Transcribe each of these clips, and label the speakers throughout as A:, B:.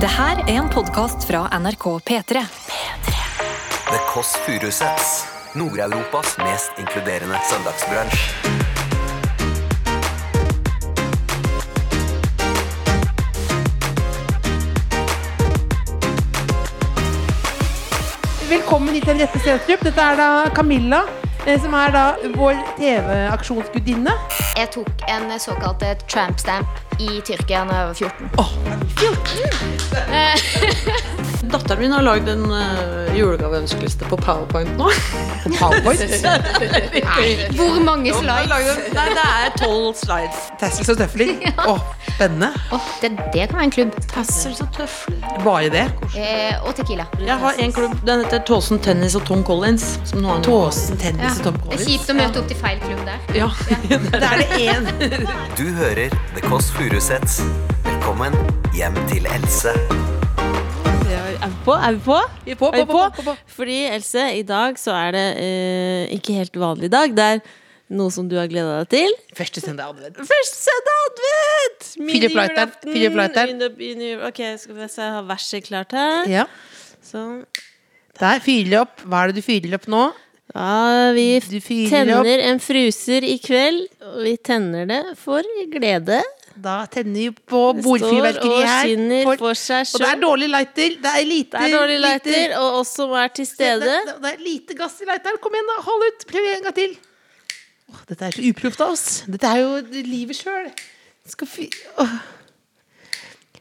A: Det her er en podkast fra NRK P3.
B: The Kåss Furuseths. Nord-Europas mest inkluderende søndagsbransj.
C: Velkommen hit til Henriette Stenstrup. Dette er da Camilla, eh, som er da vår TV-aksjonsgudinne.
D: Jeg tok en såkalt eh, tramp stamp i Tyrkia da jeg var 14.
E: Datteren min har lagd en eh, julegaveønskeliste på Powerpoint nå.
D: Hvor mange slides?
E: Nei, det er tolv slides.
C: Tassels og tøfler. Å, spennende.
D: Åh, det, det kan være en klubb.
E: Tassel så tøfler.
C: Bare det.
D: Eh, og Tequila.
E: Jeg har en klubb, den heter Tåsen Tennis og Tom Collins. Som noe annet.
C: Tåsen,
D: Ja.
C: tennis og Tom
D: Det er
C: Collins.
D: kjipt å møte opp til feil klubb der.
E: Ja.
C: Da er det én.
B: Du hører The Kåss Furuseths. Velkommen hjem til Else.
F: Er vi på? Er vi på?
C: Vi er på,
F: Er vi
C: på, på, på, på.
F: Fordi, Else, i dag så er det eh, ikke helt vanlig dag. Det er noe som du har gleda deg til.
C: Første søndag i advent.
F: Første søndag advent!
C: Philip Leiter, Philip Leiter.
F: Leiter. Ok, skal vi se, jeg har verset klart her.
C: Ja.
F: Sånn.
C: Der, fyrer opp. Hva er det du fyrer opp nå?
F: Ja, vi f-
C: Du fyrer opp.
F: tenner en fruser i kveld, og vi tenner det for glede.
C: Da tenner vi på
F: Det
C: bordfyrverkeri
F: og
C: her.
F: skinner
C: For-
F: for, seg
C: Og det er
F: sjøl.
C: dårlig lighter. Det er lite
F: Det er dårlig
C: lite-
F: lighter, og oss som er til stede.
C: Det, det, det er lite gass i leiteren. Kom igjen, da. Hold ut. Prøv en gang til. Åh, dette er så uproft av oss. Dette er jo livet sjøl. Skal fy... Åh.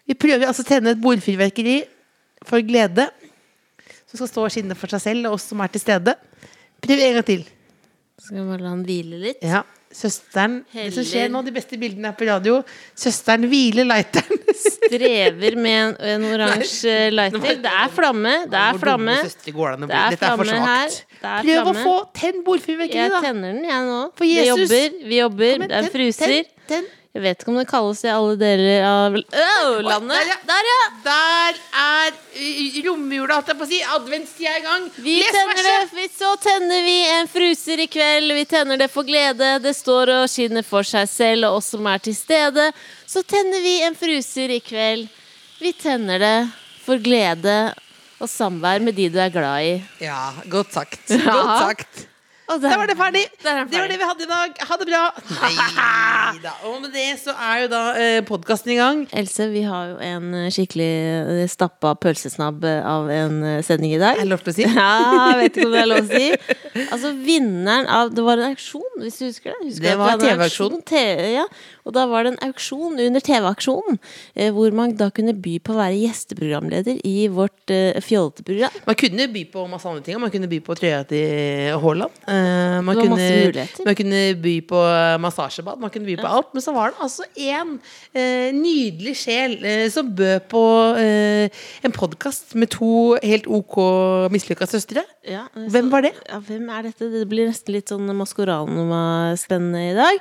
C: Vi prøver altså å tenne et bordfyrverkeri for glede. Som skal stå og skinne for seg selv og oss som er til stede. Prøv en gang til.
F: Skal vi bare la den hvile litt?
C: Ja. Søsteren Det som skjer
F: Heller.
C: nå, de beste bildene er på radio. Søsteren hviler lighteren.
F: strever med en, en oransje lighter. Det er flamme, det er
C: Hvor
F: flamme.
C: dumme søstre går det an å
F: Det
C: bli?
F: er
C: Dette er for
F: flamme her.
C: svakt.
F: Det er
C: Prøv å
F: flamme.
C: få tenn
F: Jeg
C: bordfyrverkeriet, da.
F: tenner den, jeg nå.
C: For
F: Vi
C: Jesus.
F: jobber, vi jobber.
C: Kom igjen,
F: Det er
C: tenn,
F: fruser.
C: tenn, tenn.
F: Jeg vet ikke om det kalles i alle deler av Au,
C: der, ja.
F: landet! Der, ja!
C: Der er ø, romjula, holdt jeg på å si. Adventstida er i gang.
F: Vi
C: Les
F: tenner det,
C: verset!
F: vi- så tenner vi en fruser i kveld. Vi tenner det for glede. Det står og skinner for seg selv og oss som er til stede. Så tenner vi en fruser i kveld. Vi tenner det for glede og samvær med de du er glad i.
C: Ja, godt sagt. Godt
F: Ja.
C: sagt. Da var det ferdig.
F: Der er den
C: Det var
F: ferdig.
C: det vi hadde i dag. Ha det bra. Neida. Og med det så er jo da podkasten i gang.
F: Else, vi har jo en eh, skikkelig eh, stappa pølsesnabb eh, av en eh, sending i dag.
C: Er det lov til å si?
F: Ja, jeg vet ikke om det er lov å si. Altså, vinneren av Det var en auksjon, hvis du husker det? Husker du
C: Det
F: at
C: var
F: hadde en
C: TV-auksjonen.
F: auksjon? Te- Ja, og da var det en auksjon under TV-aksjonen, eh, hvor man da kunne by på å være gjesteprogramleder i vårt eh, fjollete program.
C: Man kunne by på masse andre ting. Man kunne by på trøya til Haaland. Eh, Man,
F: Det var
C: kunne,
F: masse muligheter.
C: man kunne by på massasjebad. Man kunne by på alt. Men så var det altså én eh, nydelig sjel eh, som bød på eh, en podkast med to helt ok mislykka søstre.
F: Ja, eh,
C: Hvem var det?
F: Ja, hvem er dette? Det blir nesten litt sånn Maskorama-spennende i dag.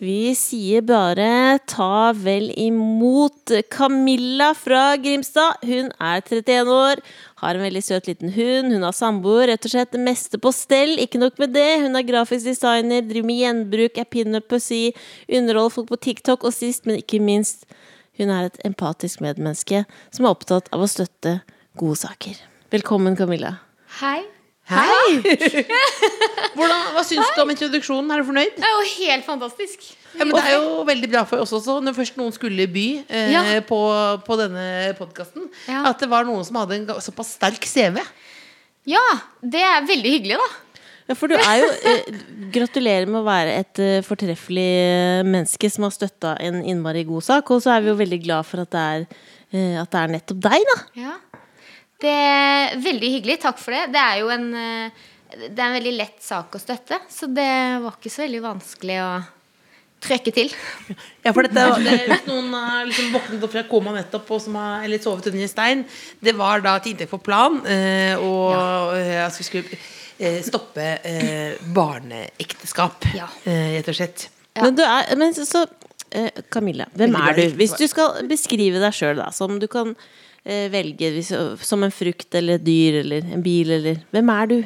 F: Vi sier bare ta vel imot Camilla fra Grimstad. Hun er 31 år, har en veldig søt liten hund. Hun har samboer, rett og slett det meste på stell. Ikke nok med det, hun er grafisk designer, driver med gjenbruk, er pinup på si, underholder folk på TikTok, og sist, men ikke minst, hun er et empatisk medmenneske som er opptatt av å støtte gode saker. Velkommen, Camilla.
D: Hei.
C: Hei! Hvordan, hva syns du om introduksjonen? Er du fornøyd?
D: Det er jo helt fantastisk.
C: Ja, men det er jo veldig bra for oss også, når først noen skulle by eh,
D: Ja.
C: på, på denne podkasten,
D: Ja.
C: at det var noen som hadde en ga- såpass sterk CV.
D: Ja, det er veldig hyggelig, da.
F: Ja, for du er jo eh, Gratulerer med å være et eh, fortreffelig eh, menneske som har støtta en innmari god sak. Og så er vi jo veldig glad for at det er, eh, at det er nettopp deg, da.
D: Ja. Det er veldig hyggelig. Takk for det. Det er jo en, eh, det er en veldig lett sak å støtte, så det var ikke så veldig vanskelig å trøkke til.
C: Ja, for dette, var- det, hvis noen har liksom våknet opp fra koma nettopp og som har, eller sovet under en stein, det var da til inntekt for plan eh, og eh, at vi skulle eh, stoppe eh, barneekteskap,
D: Ja.
C: eh, rett og slett.
D: Ja.
F: Men, du er, men så, så eh, Camilla, hvem
C: Veldig
F: er
C: glad i-
F: du? Hvis du skal beskrive deg sjøl, da, som du kan eh, velge hvis, som en frukt eller et dyr eller en bil eller Hvem er du?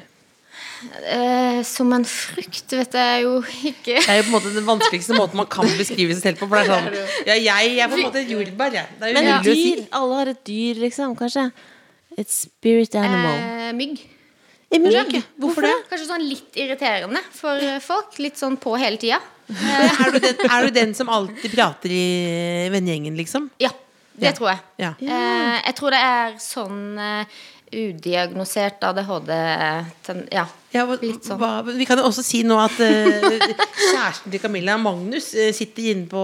D: Eh, som en frukt vet jeg jo ikke.
C: Det er jo på en måte den vanskeligste måten man kan beskrive seg selv på. For det er sånn Ja, jeg er på en måte et jordbær, jeg. Det er
F: Men
C: umulig
F: et
C: å si.
F: dyr, alle har et dyr, liksom, kanskje. Et spirit animal.
D: Eh, mygg.
F: Eh, mygg.
C: Hvorfor det?
D: Kanskje sånn litt irriterende for eh, folk. Litt sånn på hele tida.
C: Eh, Er du, den, er du den som alltid prater i vennegjengen, liksom?
D: Ja, det
C: Ja.
D: tror jeg.
C: Ja.
D: Eh, jeg tror det er sånn eh, udiagnosert ADHD eh, ten, Ja.
C: Ja, hva,
D: Litt sånn.
C: hva, vi kan jo også si nå at eh, kjæresten til Camilla, Magnus, eh, sitter inne på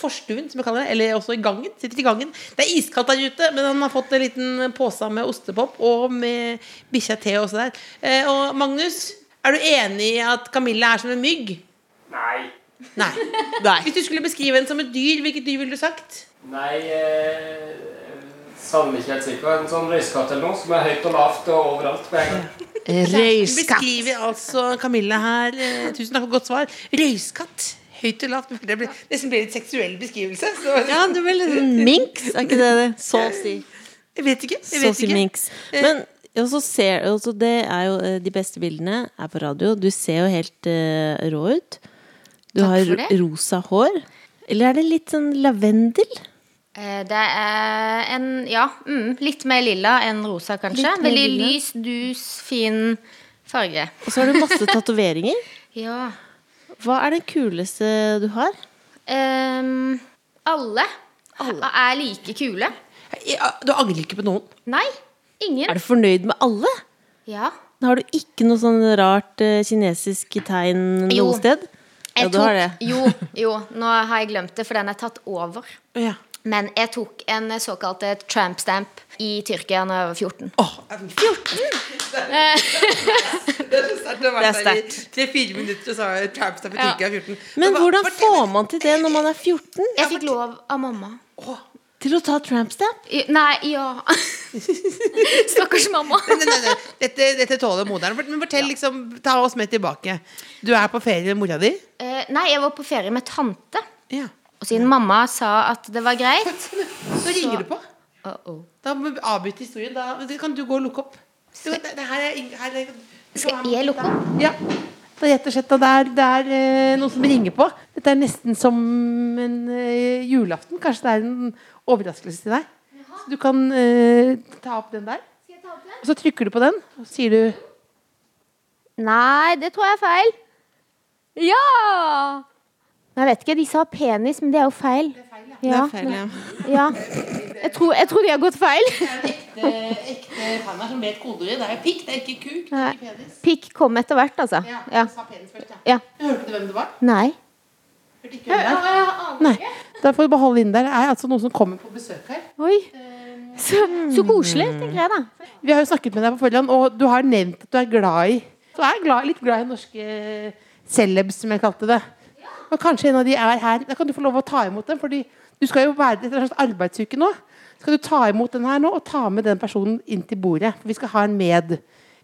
C: forstuen, som jeg kaller det. Eller også i gangen. Sitter i gangen. Det er iskaldt der ute, men han har fått en liten pose med ostepop og med bikkja te også der. Eh, og Magnus, er du enig i at Camilla er som en mygg?
G: Nei.
C: Nei. Hvis du skulle beskrive henne som et dyr, hvilket dyr ville du sagt?
G: Nei, eh, savner ikke helt sikker. En sånn røyskatt eller noe som er høyt og lavt og overalt på en gang.
C: Du beskriver altså Camilla her eh, Tusen takk for godt svar. Røyskatt. Høyt og lavt. Det ble, nesten ble litt seksuell beskrivelse. Så.
F: Ja, det blir litt sånn minks, er ikke det det? Så å si.
C: Jeg vet ikke. Jeg
F: Så å
C: vet
F: si
C: ikke. Eh,
F: minks. Men og så ser, og så det er jo eh, De beste bildene er på radio. Du ser jo helt eh, rå ut. Du
D: Takk
F: har
D: for det.
F: rosa hår. Eller er det litt sånn lavendel?
D: Eh, det er en Ja, mm, litt mer lilla enn rosa, kanskje.
F: Litt mer
D: Veldig
F: lilla.
D: lys, dus, fin farge.
F: Og så har du masse tatoveringer.
D: Ja.
F: Hva er den kuleste du har?
D: Ehm, alle, er like kule.
C: Ja, ah, Du angrer ikke på noen?
D: Nei, ingen.
F: Er du fornøyd med alle?
D: Ja.
F: Har du ikke noe sånn rart eh, kinesisk tegn
D: Jo.
F: noe sted? Ja,
D: Jeg
F: du har det.
D: tok- Jo, jo, nå har jeg glemt det, for den er tatt over.
C: Ja.
D: Men jeg tok en såkalt eh, tramp stamp i Tyrkia da jeg var 14.
C: Åh, er den 14! Det er så sterkt. Du har vært der i tre-fire minutter og så har jeg trampstamp i
D: Ja.
C: Tyrkia 14.
F: Men
C: Hva-
F: hvordan
C: fortell-
F: får man til det når man er 14?
D: Jeg fikk lov av mamma.
C: Åh,
F: Til å ta trampstamp?
D: I, nei, ja Stakkars mamma.
C: Nei, nei, nei, dette, dette tåler moderen. Men fortell, liksom, ta oss med tilbake. Du er på ferie med mora di?
D: Eh, nei, jeg var på ferie med tante.
C: Ja.
D: Og siden mamma sa at det var greit
C: Så ringer du på.
D: Uh -oh.
C: Da må vi avbryte historien. Da kan du gå og lukke opp. Du, det, det her er, ing- her er, du kan
D: Skal
C: ha med-
D: jeg lukke opp?
C: Ja. Det er rett og slett og det er, det er eh, noen som ringer på. Dette er nesten som en eh, julaften. Kanskje det er en overraskelse til deg. Så du kan eh, ta opp den der. Og så trykker du på den, og så sier du
D: Nei, det tror jeg er feil. Ja! Jeg vet ikke, de sa penis, men det er jo feil. Det er feil, ja. Jeg, tror, de har gått feil.
C: Ekte panna som vet kodeordet. Det er pikk, det er ikke kuk. Det
D: Nei. Pikk kom etter hvert, altså. Ja.
C: sa penis først,
D: Ja.
C: Hørte du hvem det var?
D: Nei.
C: Hørte ikke hvem det var? Nei. Da får du beholde inn der. Det er altså noen som kommer på besøk her.
D: Oi. Så, så koselig, tenker jeg, da.
C: Vi har jo snakket med deg på forhånd, og du har nevnt at du er glad i Du er glad, litt glad i norske eh, celebs, som jeg kalte det. Og kanskje en av de er her. Da kan du få lov å ta imot dem. Fordi du skal jo være etter en slags arbeidsuke nå. Skal du ta imot den her nå, og ta med den personen inn til bordet. For vi skal ha en med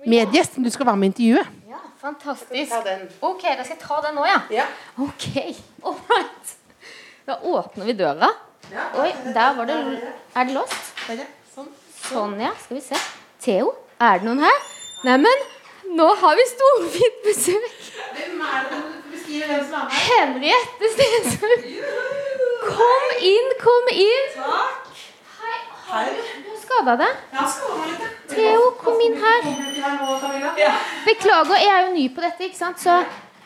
C: medgjest som du skal være med i intervjuet.
D: Ja, fantastisk. Ok, da skal jeg ta den nå, ja. Ok, all right. Da åpner vi døra. Oi, der var det Er det låst? Sånn, ja. Skal vi se. Theo, er det noen her? Neimen, nå har vi storfint besøk. Henriette Stensøy. Kom inn, kom inn. Takk. Hei. Har du, du har skada deg? Theo, kom inn her. Beklager, jeg er jo ny på dette, ikke sant? Så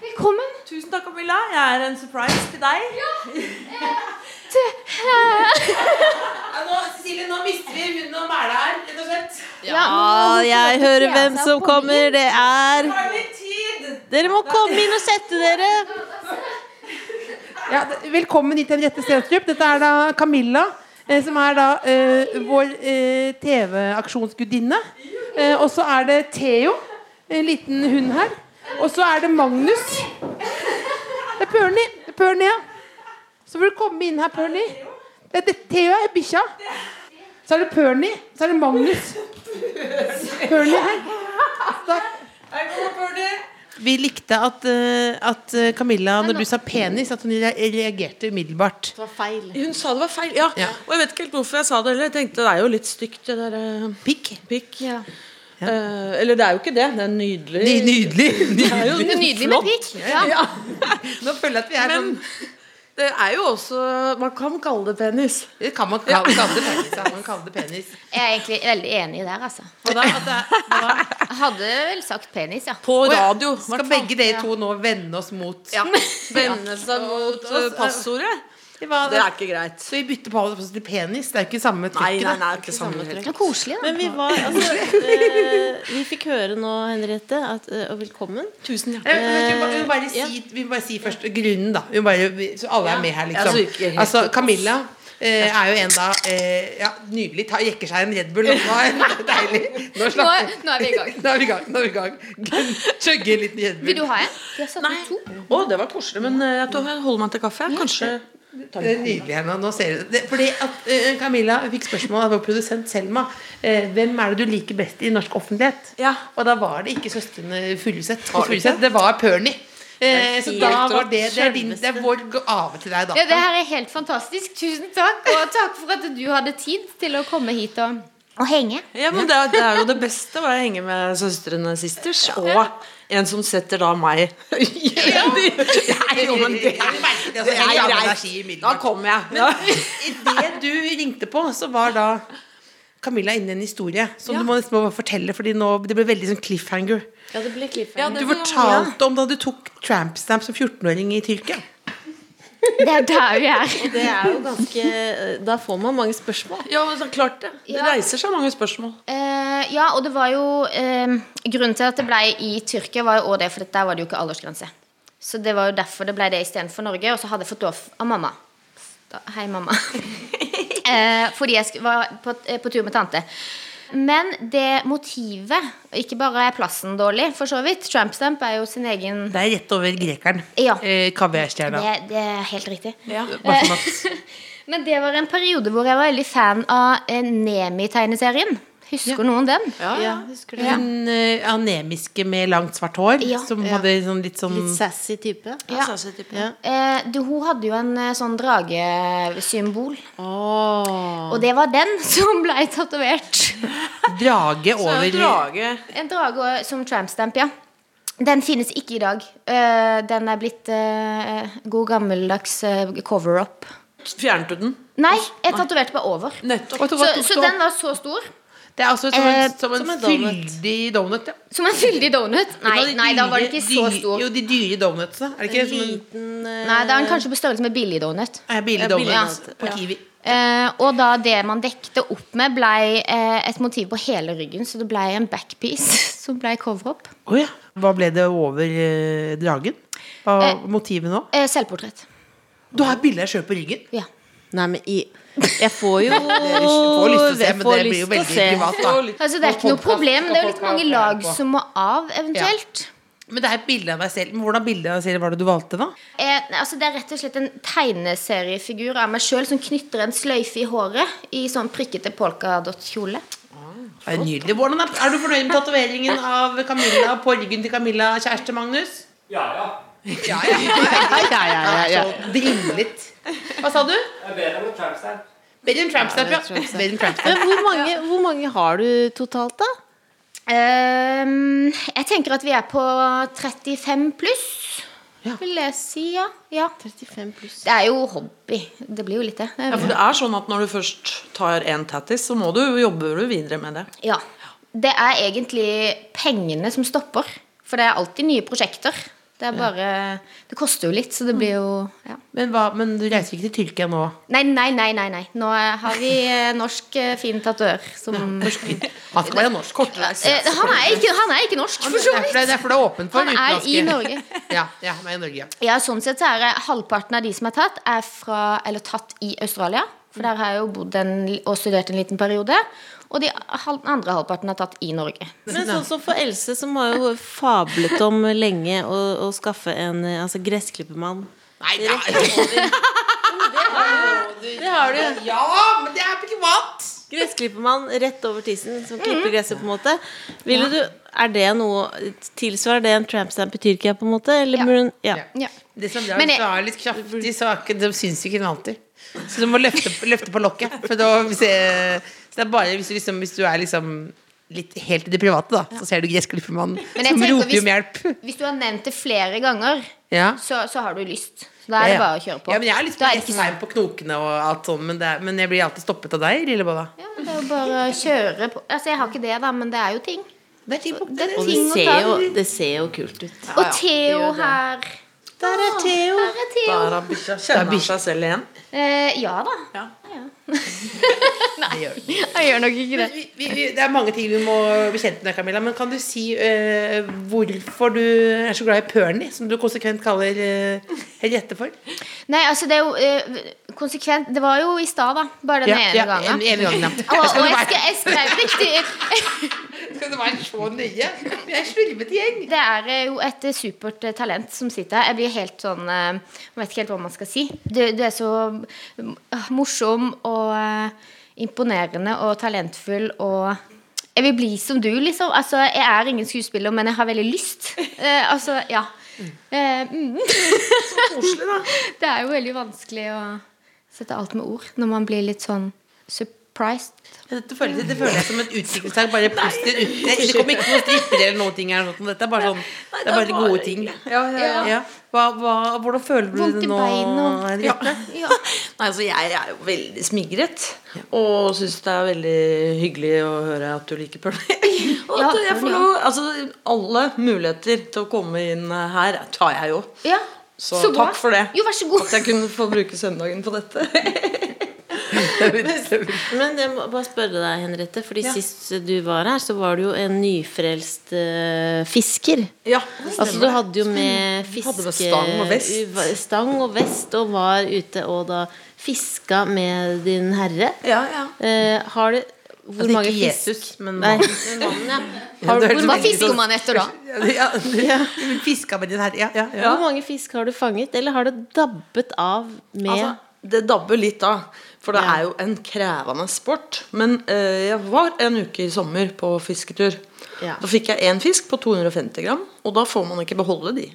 D: velkommen.
E: Tusen takk, Camilla. Jeg er en surprise til deg.
C: Cecilie, nå mister vi hun og Mæla her, rett og slett.
D: Ja, nå må hun
F: jeg
D: få lov til
F: hører
D: å
F: hvem
D: kle seg
F: som
D: og komme
F: kommer. Det er
C: Har vi tid?
F: Dere må komme inn og sette dere!
C: Ja, d- velkommen hit, Henriette Stenstrup. Dette er da Camilla, eh, som er da eh, vår eh, TV-aksjonsgudinne. Eh, og så er det Theo, en liten hund her. Og så er det Magnus. Det er Perny. Det er Perny, ja. Så vil du komme inn her, Perny. Det er det, Theo er bikkja. Så er det Perny. Så er det Magnus. Perny her. Takk. Vi likte at, eh, at eh, Camilla, når du sa penis, at hun re- reagerte umiddelbart.
E: Hun sa det var feil. Ja.
C: Ja.
E: Og jeg vet ikke helt hvorfor jeg sa det heller. Jeg tenkte det er jo litt stygt, det der eh,
C: Pikk.
E: pikk.
D: Ja.
E: Eh, eller det er jo ikke det. Det er nydelig.
C: Ny- Nydelig!
E: Det er jo
D: Det er nydelig med pikk. Ja.
E: Ja,
C: Nå føler jeg at vi er
E: men det er jo også Man kan kalle det penis.
C: sånn Kan man kalle kalle det penis? Ja, man kaller det penis.
D: Jeg er egentlig veldig enig der, altså.
C: Og da, at det er,
D: Jeg hadde vel sagt penis, ja.
E: På radio.
C: skal begge dere to nå vende oss mot
E: vende seg mot eh, passordet?
C: Det var-
E: Det er ikke greit.
C: Så vi bytter på alle til penis? Det er jo ikke samme trykket.
E: Nei, nei,
C: da.
E: nei, ikke samme
D: Det er koselig, da.
F: Men vi var altså, eh, Vi fikk høre nå, Henriette, at, eh, og velkommen
E: Tusen hjertelig.
C: Eh, men Vi må bare- vi må bare si, vi må bare si først grunnen, da. Vi må bare, så alle er med her,
E: Ja, så ikke
C: liksom.
E: helt
C: Altså, Camilla eh, er jo en da eh, ja, Nydelig. Ta, jekker seg en Red Bull. Nå er det deilig. Nå
D: Nå,
C: slapper
D: nå er vi i gang.
C: Nå er vi i gang. nå er vi i gang Chugge en liten Red
D: Vil
C: Bull.
D: du ha en? Vi har satt ut to.
E: Å, det var koselig, men eh, jeg tror jeg holder meg til kaffe. jeg. Kanskje
C: Det er nydelig her nå. nå ser du. det. Fordi at eh, Camilla fikk spørsmål av vår produsent Selma. Eh, hvem er det du liker best i norsk offentlighet?
E: Ja.
C: Og da var det ikke søstrene Furuseth.
E: Var det ikke?
C: Furuseth, Det var Pernie. Eh, så
E: helt
C: da var
E: rått.
C: det det er, din, det er vår gave til deg, da.
D: Ja, det her er helt fantastisk. Tusen takk. Og takk for at du hadde tid til å komme hit og, og henge.
E: Ja, men det er, det er jo det beste var å henge med søstrene sisters. Og en som setter da meg i Nei, jo, men
C: Jeg
E: det
C: merker det, altså, jeg har energi i middelbart.
E: Da kommer jeg. Ja.
C: Idet du ringte på, så var da Camilla inne i en historie som
E: Ja.
C: du må nesten bare fortelle, Fordi nå, det ble veldig sånn cliffhanger.
F: Ja, det ble
E: Ja,
F: cliffhanger.
E: det
C: Du
E: får jeg holde.
C: fortalte om da du tok trampstamp som 14-åring i Tyrkia.
D: Det er der vi er.
F: Det er jo ganske Da får man mange spørsmål.
E: Ja, men så klart det. Det
D: Ja.
E: reiser seg mange spørsmål.
D: Eh, ja, og det var jo eh, Grunnen til at det ble i Tyrkia, var jo også det, for der var det jo ikke aldersgrense. Så det var jo derfor det ble det istedenfor Norge. Og så hadde jeg fått lov av mamma. Da, hei, mamma. eh, fordi jeg sk- var på, eh, på tur med tante. Men det motivet Ikke bare er plassen dårlig, for så vidt. Trampstamp er jo sin egen
C: Det er rett over grekeren.
D: Ja.
C: Eh, Kaviarstjerna.
D: det, det er helt riktig. Eh,
C: Bare sånn at-
D: Men det var en periode hvor jeg var veldig fan av eh, Nemi-tegneserien. Husker noen den?
E: Ah,
F: Ja, husker du?
C: Hun eh, anemiske med langt, svart hår
D: Ja.
C: som hadde sånn, litt sånn
F: Litt sassy type.
D: Ja.
E: altså,
F: Ja.
D: Eh, du, hun hadde jo en eh, sånn dragesymbol. Og det var den som ble tatovert.
C: drage over
E: Drage.
D: En drage som trampstamp, ja. Den finnes ikke i dag. Eh, den er blitt eh, god gammeldags eh, cover-up.
E: Fjernet du den?
D: Nei, jeg tatoverte bare over.
E: Nettopp.
D: Så, så den var så stor.
C: Det er altså som en,
D: Eh,
C: som en,
F: som en donut.
C: fyldig donut. Ja.
D: Som en fyldig donut.
C: Det
D: Nei,
C: de
D: nei, da var den
C: dyre-
D: ikke så
C: dyre-
D: stor.
C: Jo, de dyre donutsene. Er det ikke det som en
F: Liten eh,
D: Nei, da er den kanskje på størrelse med billig donut.
C: er billig
F: Ja,
C: donut
F: billig
D: donut,
C: på Kiwi?
D: Eh, og da det man dekte opp med, blei eh, et motiv på hele ryggen, så det blei en backpiece som blei cover-up.
C: Å ja. Hva ble det over eh, dragen? Hva
D: Eh.
C: var motivet nå?
D: Eh, selvportrett.
C: Du har et bilde av deg sjøl på ryggen.
D: Ja.
F: Nei, men i Jeg får jo
C: Jeg får lyst til å se,
F: jeg
C: men
F: får
C: det blir jo
F: lyst til å
C: veldig
F: se.
C: privat. Da.
D: Altså, det er ikke noe problem. Det er jo litt mange lag
C: på.
D: som må av, eventuelt.
C: Men det er et bilde av deg selv. Men hvordan bilde av deg selv var det du valgte, da?
D: Eh, altså, det er rett og slett en tegneseriefigur av meg sjøl som knytter en sløyfe i håret i sånn prikkete polkadott-kjole.
C: Det er nydelig. Hvordan er, er du fornøyd med tatoveringen av Camilla på ryggen til Camilla kjæreste Magnus?
G: Ja, ja.
C: Ja, ja, ja. ja, Så drimlet. Hva sa du?
G: Det er bedre med trampstein.
C: Bedre enn trampstamp, ja. Bedre enn trampstamp.
F: Men hvor mange, hvor mange har du totalt, da?
D: Ehm, jeg tenker at vi er på 35 pluss, vil jeg si. Ja. ja.
F: 35 pluss.
D: Det er jo hobby. Det blir jo litt det. det.
E: Ja,
D: er-
E: for det er sånn at når du først tar en tattis, så må du jobbe du videre med det.
D: Ja. Det er egentlig pengene som stopper. For det er alltid nye prosjekter. Det er bare Det koster jo litt, så det blir jo ja.
C: Men, hva, men du reiser ikke til Tyrkia nå?
D: Nei, nei, nei, nei. nei. Nå eh, har vi eh, norsk eh, fin tatoør som
C: Han skal være norsk.
D: Eh, han, er ikke, han er ikke norsk, for
C: Det
D: så
C: er
D: vidt.
C: fordi- det er fordi det er åpent for
D: Han er i
C: utenlandske.
D: Norge.
C: Ja, ja, han er i Norge. ja.
D: Ja, sånn sett så er det halvparten av de som er tatt, er fra, eller tatt i Australia. For der har jeg jo bodd en, og studert en liten periode. Og de hal- andre halvparten er tatt i Norge.
F: Men sånn som for Else, som har jo fablet om lenge å, å skaffe en eh, altså, gressklippermann.
C: Nei, det er Oh,
F: Det har du.
C: Ja, men det er privat!
F: Gressklippermann rett over tissen, som klipper gresset, på en måte. Ville du, er det noe Tilsvarer det en trampstamp i Tyrkia, på en måte? Eller
D: Ja.
F: burde hun- ja.
D: Ja.
C: Det som er
D: Men jeg-
C: australisk kraftig, så er ikke, det syns ikke den alltid. Så du må løfte, løfte på lokket. For da, hvis jeg, så det er bare hvis du, liksom, hvis du er liksom litt helt i det private, da. Så ser du gressklippermannen
D: Men jeg
C: som
D: tenker
C: roper
D: hvis-
C: om hjelp.
D: Hvis du har nevnt det flere ganger,
C: Ja.
D: så, så har du lyst. Så da er det bare å kjøre på.
C: Ja, men jeg er litt
D: Da er det ikke
C: stein på knokene og alt sånn, men, det er, men jeg blir alltid stoppet av deg, lille Bolla.
D: Ja, men det er jo bare å kjøre på. Altså, jeg har ikke det, da, men det er jo ting.
C: Det er ting på
D: Det er
F: Og det
D: ting å
F: ser
D: ta.
F: jo, det ser jo kult ut.
D: Og Theo her.
C: Der er Theo.
D: Her er Theo.
E: Der har bikkja kjenner seg selv igjen.
D: Eh, ja da. Nei, jeg gjør nok ikke det.
C: Vi, vi, vi, det er mange ting vi må bli kjent med, Camilla, men kan du si eh, hvorfor du er så glad i Pernie, som du konsekvent kaller uh, Henriette for?
D: Nei, altså, det er jo eh, konsekvent Det var jo i stad, da. Bare den ene gangen.
C: En, en gang ja.
D: Og,
C: Jeg skal
D: og
C: du
D: jeg,
C: være,
D: skre, jeg skrev riktig.
C: skal du være så nøye? Vi er en slurvete gjeng.
D: Det er eh, jo et eh, supert eh, talent som sitter her. Jeg blir helt sånn eh, Jeg vet ikke helt hva man skal si. Du, du er så eh, morsom og eh, imponerende og talentfull og Jeg vil bli som du, liksom. Altså, jeg er ingen skuespiller, men jeg har veldig lyst. Eh, altså, ja. Eh, mm. Det er jo veldig vanskelig å sette alt med ord når man blir litt sånn surprised.
C: Dette føles, det føler jeg som et utviklingstag. Bare puster ut. Det, det kommer ikke noen stripper eller noen ting her. eller noe sånt. Dette er bare sånn Det er bare gode ting. Ja. Hva, hva, hvordan føler du
D: Vondt
C: det
D: i
C: nå?
D: beina og-
C: Henriette?
D: Ja.
E: Nei, altså Jeg er jo veldig smigret, og syns det er veldig hyggelig å høre at du liker Pernie. Og at
D: Ja,
E: jeg får
D: ja.
E: lov, altså Alle muligheter til å komme inn her tar jeg jo.
D: Ja.
E: Så,
D: bra.
E: takk for det.
D: Jo, vær så god.
E: At jeg kunne få bruke søndagen på dette.
F: Men jeg må bare spørre deg, Henriette, fordi sist du var her, så var du jo en nyfrelst eh, fisker.
E: Ja,
F: Altså, du hadde jo med
E: Hadde med stang og vest.
F: fiske- Stang og vest, og var ute og da fiska med din herre.
E: ja, ja.
F: Eh, har du Hvor
C: Altså,
F: mange
C: ikke
F: fisk-
C: Jesus, men
F: Nei,
C: mannen.
F: mannen, ja. Har du,
C: det er
F: hvor,
C: så
D: Hva
F: mange,
C: veldig
D: fisker man etter da?
C: Ja, ja. Fiska med din herre. Ja, ja, ja.
F: hvor mange fisk har du fanget, eller har det dabbet av med
E: Altså, det dabber litt av, for det
F: Ja.
E: er jo en krevende sport. Men eh, jeg var en uke i sommer på fisketur.
F: Ja.
E: Da fikk jeg én fisk på 250 gram, og da får man ikke beholde de.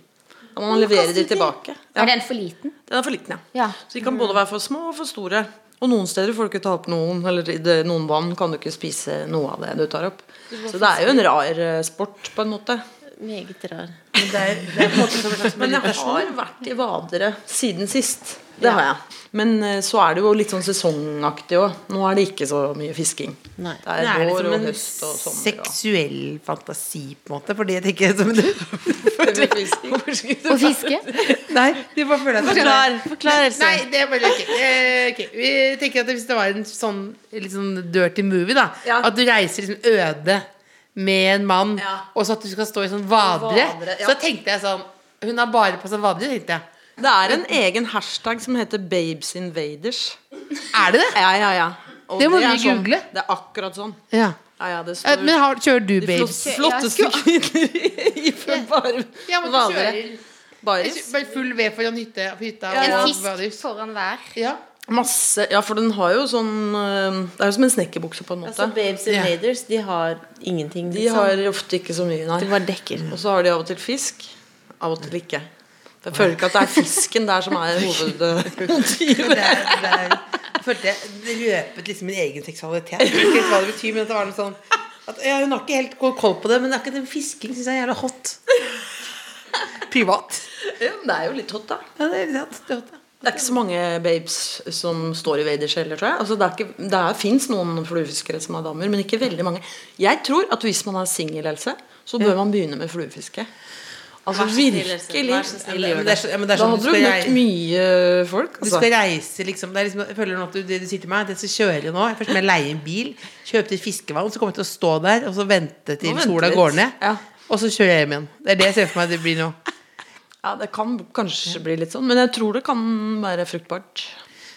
E: Da må man levere de tilbake. Ja,
D: Er den for liten?
E: den er for liten, ja.
D: Ja.
E: Så de kan både være for små og for store. Og noen steder får du ikke ta opp noen, eller i det- noen vann kan du ikke spise noe av det du tar opp. Så det er jo en rar eh, sport, på en måte.
F: Meget rar.
C: Men det er, det er på en måte som en slags
E: Men jeg
C: meditasjon.
E: har vært i Vadere siden sist. Det har jeg. Men eh, så er det jo litt sånn sesongaktig òg. Nå er det ikke så mye fisking.
F: Nei.
E: Det
C: Det
E: er
C: er
E: vår
C: liksom
E: og
C: en
E: høst og sommer. Og
C: seksuell fantasi, på en måte. Fordi jeg tenker som du Hvorfor skulle du
D: Å fiske?
C: Nei, du bare føler at
F: Forklar, forklar Else.
C: Nei, det er bare ok. Eh, ok. Vi tenker at hvis det var en sånn litt sånn dirty movie, da
E: Ja.
C: At du reiser liksom øde med en mann,
E: Ja.
C: og så at du skal stå i sånn vadere,
E: Vadere, ja.
C: så tenkte jeg sånn Hun har bare på seg vadere, tenkte jeg.
E: det er en egen hashtag som heter 'Babes Invaders'.
C: Er det det?
E: Ja, ja, ja. Og
C: Det må
E: er
C: vi
E: sånn.
C: google.
E: Det er akkurat sånn.
C: Ja.
E: Ja, ja, det
C: Eh,
E: står
C: Men har, kjører du,
E: de
C: babes?
E: flott- flotteste kvinner i full bare
C: Ja, men du
E: vadere.
C: kjører
E: Baris.
C: bare full ved foran hytte, hytta.
D: En
C: og
D: fisk
C: vaders.
D: foran hver.
C: Ja.
E: Masse Ja, for den har jo sånn eh, Det er jo som en snekkerbukse, på en
F: Altså,
E: måte.
F: Babes Invaders, de har ingenting.
E: De
F: liksom.
E: har ofte ikke så mye, nei.
F: De bare dekker.
E: Og så har de av og til fisk. Av og til ikke. Jeg føler ikke at det er fisken der som er
C: Det
E: hovedmotivet.
C: er, det er, jeg følte jeg røpet liksom min egen seksualitet. Jeg vet ikke helt hva det betyr, men at det var noe sånn at, ja, Hun har ikke helt koll- koll på det, men akkurat den fisking syns jeg er jævla hot. Privat.
E: Ja, men det er jo litt hot, da.
C: Ja, det er litt hot, det er hot, ja.
E: Det er ikke så mange babes som står i Waders heller, tror jeg. Altså, det er ikke, det er- fins noen fluefiskere som er damer, men ikke veldig mange. Jeg tror at hvis man er singel, Else, så bør man begynne med fluefiske. Altså virkelig.
F: Vær så snill,
C: Men
F: gjør
C: det
F: det.
C: er så- ja, men det er
E: Da
C: sånn,
E: hadde
C: du
E: du
C: skal
E: møtt
C: rei-
E: mye folk.
C: du
E: Altså.
C: skal reise, liksom. Det er liksom jeg føler nå at du, det du sier til meg, det skal kjøre nå. Først må jeg leie en bil, kjøpe til fiskevagn, så kommer jeg til å stå der og så vente til
E: Nå venter
C: sola
E: litt.
C: går ned.
E: Ja.
C: Og så kjører jeg hjem igjen. Det er det jeg ser for meg det blir nå.
E: Ja, det kan kanskje bli litt sånn, men jeg tror det kan være fruktbart.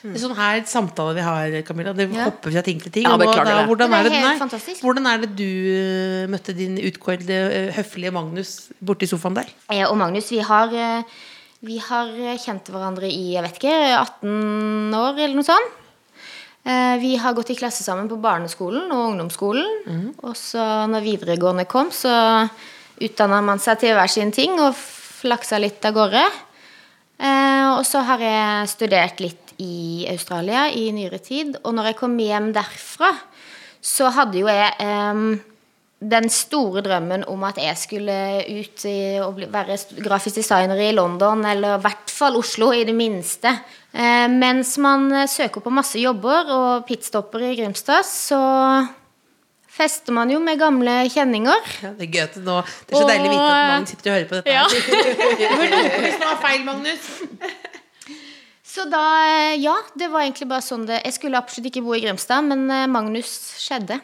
C: Det er sånn her samtale vi har, Camilla. Det
D: Ja.
C: hopper fra ting til ting.
E: Ja,
C: og nå,
E: beklager
C: da,
E: det.
C: hvordan,
D: Det
C: er
D: er
C: det,
D: helt
C: nei,
D: fantastisk.
C: hvordan er det du eh, møtte din utkårede, eh, høflige Magnus borti sofaen der?
D: Jeg og Magnus, vi har, eh, vi har eh, kjent hverandre i jeg vet ikke, 18 år eller noe sånt. Eh, Vi har gått i klasse sammen på barneskolen og ungdomsskolen. Og så når videregående kom, så utdanna man seg til hver sin ting og flaksa litt av gårde. Eh, Og så har jeg studert litt i Australia i nyere tid. Og når jeg kom hjem derfra, så hadde jo jeg eh, den store drømmen om at jeg skulle ut i, og bli, være st- grafisk designer i London, eller i hvert fall Oslo, i det minste. Eh, mens man eh, søker på masse jobber og pitstopper i Grimstad, så fester man jo med gamle kjenninger.
C: Ja, det er gøy at det nå Det er så deilig å vite at Magnus sitter og hører på dette.
D: Ja.
C: Det var noe som var feil, Magnus.
D: Så da, eh, ja, det var egentlig bare sånn det Jeg skulle absolutt ikke bo i Grimstad, men eh, Magnus skjedde.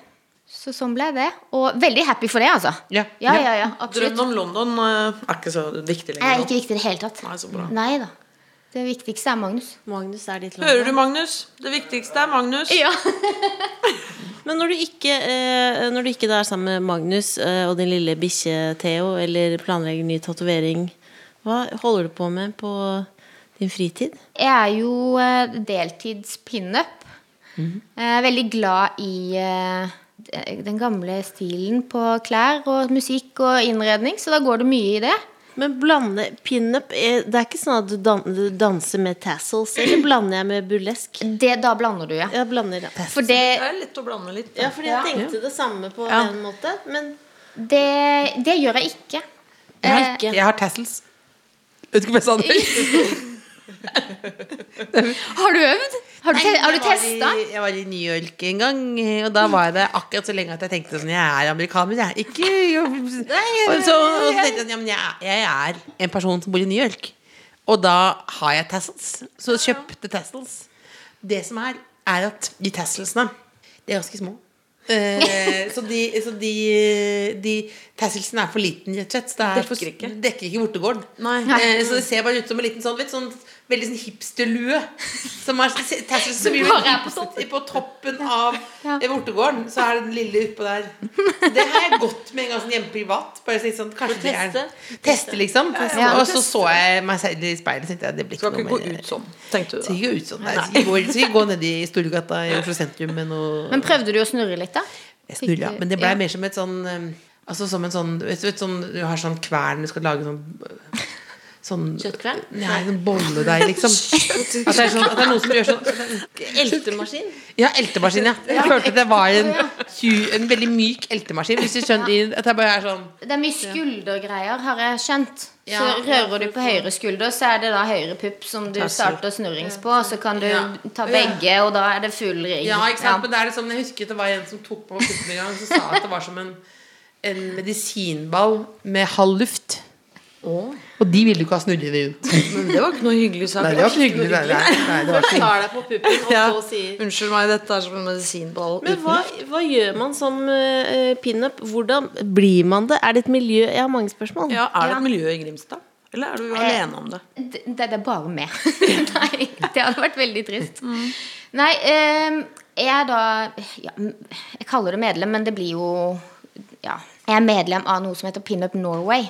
D: Så sånn ble det. Og veldig happy for det, altså.
C: Ja.
D: ja, ja, ja absolutt.
E: Drømmen om London eh, er ikke så viktig
D: Det er
E: lenger. nå.
D: ikke viktig i det hele tatt.
E: Nei, så bra.
D: Nei da. Det viktigste er Magnus.
F: Magnus er ditt land.
E: Hører du, Magnus? Det viktigste er Magnus.
D: Ja.
F: Men når du ikke, eh, når du ikke da er sammen med Magnus eh, og din lille bikkje Theo, eller planlegger ny tatovering, hva holder du på med på din fritid?
D: Jeg er jo eh, deltids pinup.
E: Mhm.
D: Jeg er veldig glad i eh, den gamle stilen på klær og musikk og innredning, så da går det mye i det.
F: Men blande pinup eh, Det er ikke sånn at du, dan du danser med tassels, eller blander jeg med burlesk?
D: det da blander du, ja.
F: Jeg blander, ja.
D: For det,
E: Det er lett å blande litt.
F: Ja, fordi jeg tenkte det samme på en måte, men
D: det, det gjør jeg ikke.
C: Jeg har,
D: Eh,
C: ikke. Jeg har tassels. Vet du ikke hva jeg sa nå?
D: Har du øvd? Har du, te har du testa?
C: Jeg var i- Jeg var i New York en gang, eh, og da var jeg der akkurat så lenge at jeg tenkte sånn Jeg er amerikaner, jeg. er Ikke jo. Og så, og så tenkte jeg sånn, ja, men jeg, er- jeg er en person som bor i New York. Og da har jeg tassels. Så kjøpte tassels. Det som er, er at de tasselsene De er ganske små. Eh, så de, så de, de tasselsene er for liten, rett og slett. Så det er for,
E: Dekker ikke.
C: dekker ikke vortegården.
E: Nei.
C: Eh, så det ser bare ut som en liten sånn, vet, du, sånn veldig sånn hipsterlue. Som er sånn- tassel som gjør
D: bare er på toppen.
C: på toppen av
D: Ja.
C: eh, vortegården. Så er det den lille utpå der. Det har jeg gått med en gang sånn hjemme privat. Bare si sånn, kanskje det er
F: teste.
C: Teste, liksom.
D: ja.
C: Og så så jeg meg selv i speilet og tenkte jeg, det blir
E: Skal
C: ikke
E: ikke
C: noe
E: gå
C: mer.
E: ut sånn, tenkte du
C: Skal
E: da.
C: ikke gå ut sånn. Nei, skal ikke gå- skal ikke gå ned i Storgata i Oslo sentrum med noe
D: Men prøvde du å snurre litt, da?
C: jeg snurra.
D: Fikk du-
C: Men det blei
D: ja.
C: mer som et sånn um, Altså som en sånn vet, du- vet, du, sånn Du har sånn kvern du skal lage sånn Sånn
F: Kjøttkvern?
C: Nei, sånn bolledeig, liksom. At det, er sånn, at det er noen som gjør sånn
F: Eltemaskin?
C: Ja, eltemaskin, ja. Jeg følte det var en, tju- en veldig myk eltemaskin. Hvis du skjønner at jeg bare er sånn
D: Det er mye skuldergreier, har jeg skjønt. Så
C: Ja.
D: rører du på høyre skulder, så er det da høyre pupp som du starter snurrings på, og så kan du ta begge, og da er det full ring.
C: Ja, ikke sant? Men det er liksom, jeg husker det var en som tok på puppen en gang og sa at det var som en, en medisinball med halv luft. Og de ville du ikke ha snurret rundt.
E: Men det var ikke noe hyggelig sagt.
C: Nei, det var ikke hyggelig. Nei, nei, nei, det var ikke
F: Tar deg på puppen og
E: Ja.
F: så sier
E: Unnskyld meg, dette er som en medisinball.
F: Men hva, hva gjør man som uh, pinup? Hvordan blir man det? Er det et miljø Jeg har mange spørsmål.
E: Ja, er det et miljø i Grimstad? Eller er du alene om det?
D: Det, det er bare meg. Nei, det hadde vært veldig trist.
C: Mm.
D: Nei, eh, jeg er da ja, Jeg kaller det medlem, men det blir jo Ja. Jeg er medlem av noe som heter Pinup Norway.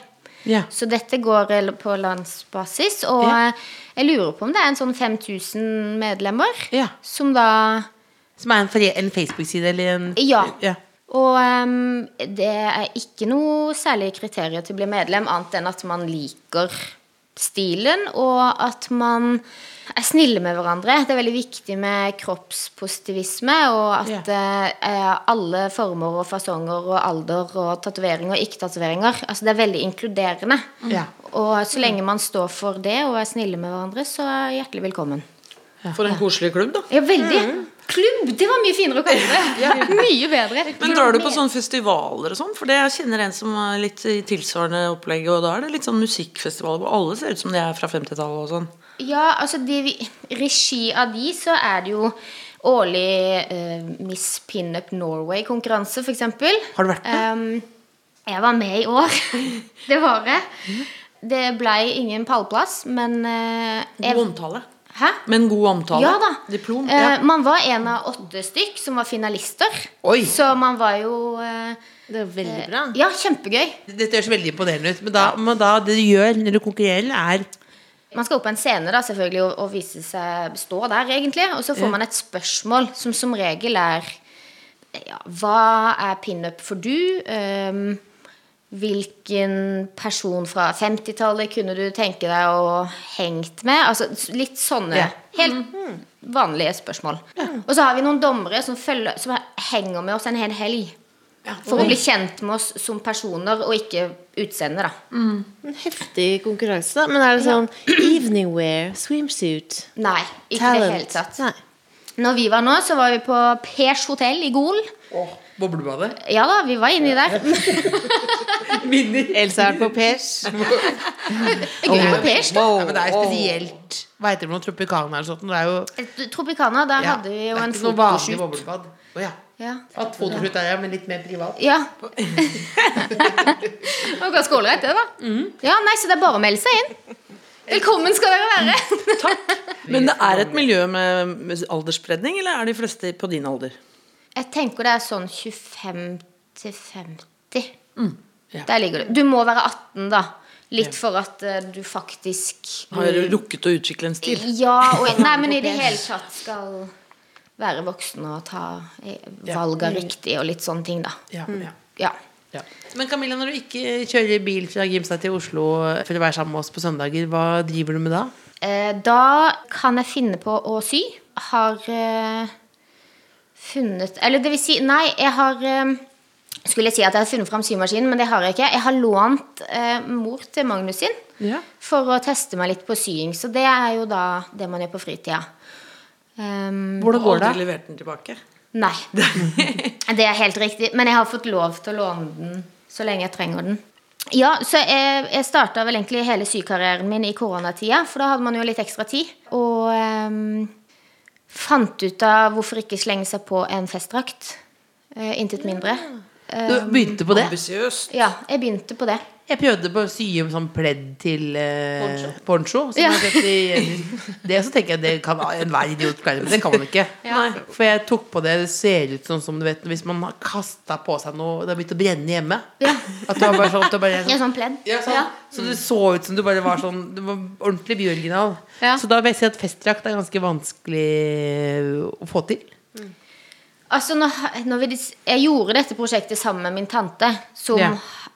C: Ja.
D: Så dette går eh, på landsbasis, og eh, jeg lurer på om det er en sånn 5000 medlemmer
C: Ja.
D: som da
C: Som er en, fre- en Facebook-side eller en
D: Ja.
C: ja.
D: Og ehm, det er ikke noe særlig kriterier til å bli medlem, annet enn at man liker stilen, og at man er snille med hverandre. Det er veldig viktig med kroppspositivisme, og at eh, alle former og fasonger og alder og tatoveringer og ikke-tatoveringer Altså det er veldig inkluderende.
E: Mm.
C: Ja.
D: Og så lenge man står for det og er snille med hverandre, så er hjertelig velkommen.
E: For en koselig klubb, da.
D: Ja, veldig.
E: Mm.
D: Klubb! Det var mye finere å kalle det. Mye bedre.
E: Men drar du på sånne festivaler og sånn? For det jeg kjenner en som er litt i tilsvarende opplegg, og da er det litt sånn musikkfestivaler hvor alle ser ut som de er fra 50-tallet og sånn.
D: Ja, altså de, vi- regi av de så er det jo årlig eh, Miss Pinup Norway-konkurranse, f.eks.
C: Har du vært
D: med? jeg var med i år. det var jeg. Det blei ingen pallplass, men eh,
E: God
D: jeg,
E: omtale.
D: Hæ?
E: Med en god omtale.
D: Ja da.
E: Diplom.
D: Eh,
E: Ja.
D: man var en av åtte stykk som var finalister.
C: Oi.
D: Så man var jo eh,
F: Det er veldig bra.
D: Ja, kjempegøy.
C: Dette høres veldig imponerende ut, men da, men da det du gjør når du konkurrerer, er
D: Man skal opp på en scene da, selvfølgelig og, og vise seg stå der, egentlig. Og så får man et spørsmål som som regel er ja, Hva er pinup for du? Ehm, hvilken person fra 50-tallet kunne du tenke deg å hengt med? Altså s- litt sånne
C: Ja.
D: helt vanlige spørsmål. Og så har vi noen dommere som, følger, som henger med oss en hel helg. For å bli kjent med oss som personer, og ikke utseende, da.
F: En heftig konkurranse, da. Men er det sånn evening wear, swimsuit,
D: Nei, ikke i det
F: talent?
D: hele tatt.
F: Nei.
D: Når vi var nå, så var vi på Pers hotell i Gol.
E: Boblebadet.
D: Ja da, vi var inni der.
C: Else har vært på Pers.
D: Gøy med Pers, da.
C: Wow, men det er spesielt. Hva heter det for noe Tropicana eller sånt? Det er jo
D: Tropicana, der
C: ja,
D: hadde vi
C: det
D: jo
C: er
D: en
C: ikke noe vanlig
D: fotoshoot.
C: boblebad. Å ja.
D: Ja.
C: At fotoshoot er ja, men litt mer privat.
D: ja. det var ganske ålreit, det, da.
C: Mhm.
D: Ja, nei, Så det er bare å melde seg inn. Velkommen skal dere være.
E: Men det er et miljø med med aldersspredning, eller er de fleste på din alder?
D: Jeg tenker det er sånn 25 til 50.
C: Mm.
D: Der ligger du. Du må være 18, da. Litt for at eh, du faktisk
E: Har rukket å utvikle en stil?
D: Ja, og nei, men i det hele tatt skal være voksen og ta eh, valg av riktig og litt sånne ting, da.
C: Ja, ja.
D: Ja.
C: Ja. Men Camilla, når du ikke kjører bil fra Grimstad til Oslo for å være sammen med oss på søndager, hva driver du med da?
D: Eh, Da kan jeg finne på å sy. Har eh, funnet Eller det vil si, nei, jeg har eh, Skulle jeg si at jeg har funnet fram symaskinen, men det har jeg ikke. Jeg har lånt eh, mor til Magnus sin
C: Ja.
D: for å teste meg litt på sying. Så det er jo da det man gjør på fritida. Um,
C: Hvordan går det?
E: Aldri levert den tilbake.
D: Nei. Det er helt riktig. Men jeg har fått lov til å låne den så lenge jeg trenger den. Ja, så jeg, jeg starta vel egentlig hele sykarrieren min i koronatida, for da hadde man jo litt ekstra tid. Og ehm, fant ut av hvorfor ikke slenge seg på en festdrakt. Eh, Intet mindre. Eh,
C: Du begynte på det?
E: Ambisiøst.
D: Ja, jeg begynte på det.
C: Jeg prøvde på å sy om sånn pledd til eh, poncho. som
D: Ja.
C: jeg kjøpte i- det så tenker jeg det kan enhver idiot klare, men det kan man ikke. Nei. For jeg tok på det, det ser ut sånn som du vet hvis man har kasta på seg noe Det har begynt å brenne hjemme.
D: Ja.
C: At det var bare sånn, det var bare
D: I en sånn pledd.
C: Ja, sånn.
D: Ja.
C: Så det så ut som du bare var sånn Du var ordentlig byoriginal.
D: Ja.
C: Så da vil jeg si at festdrakt er ganske vanskelig å få til.
D: Altså, når, når vi, dis- jeg gjorde dette prosjektet sammen med min tante, som
C: Ja.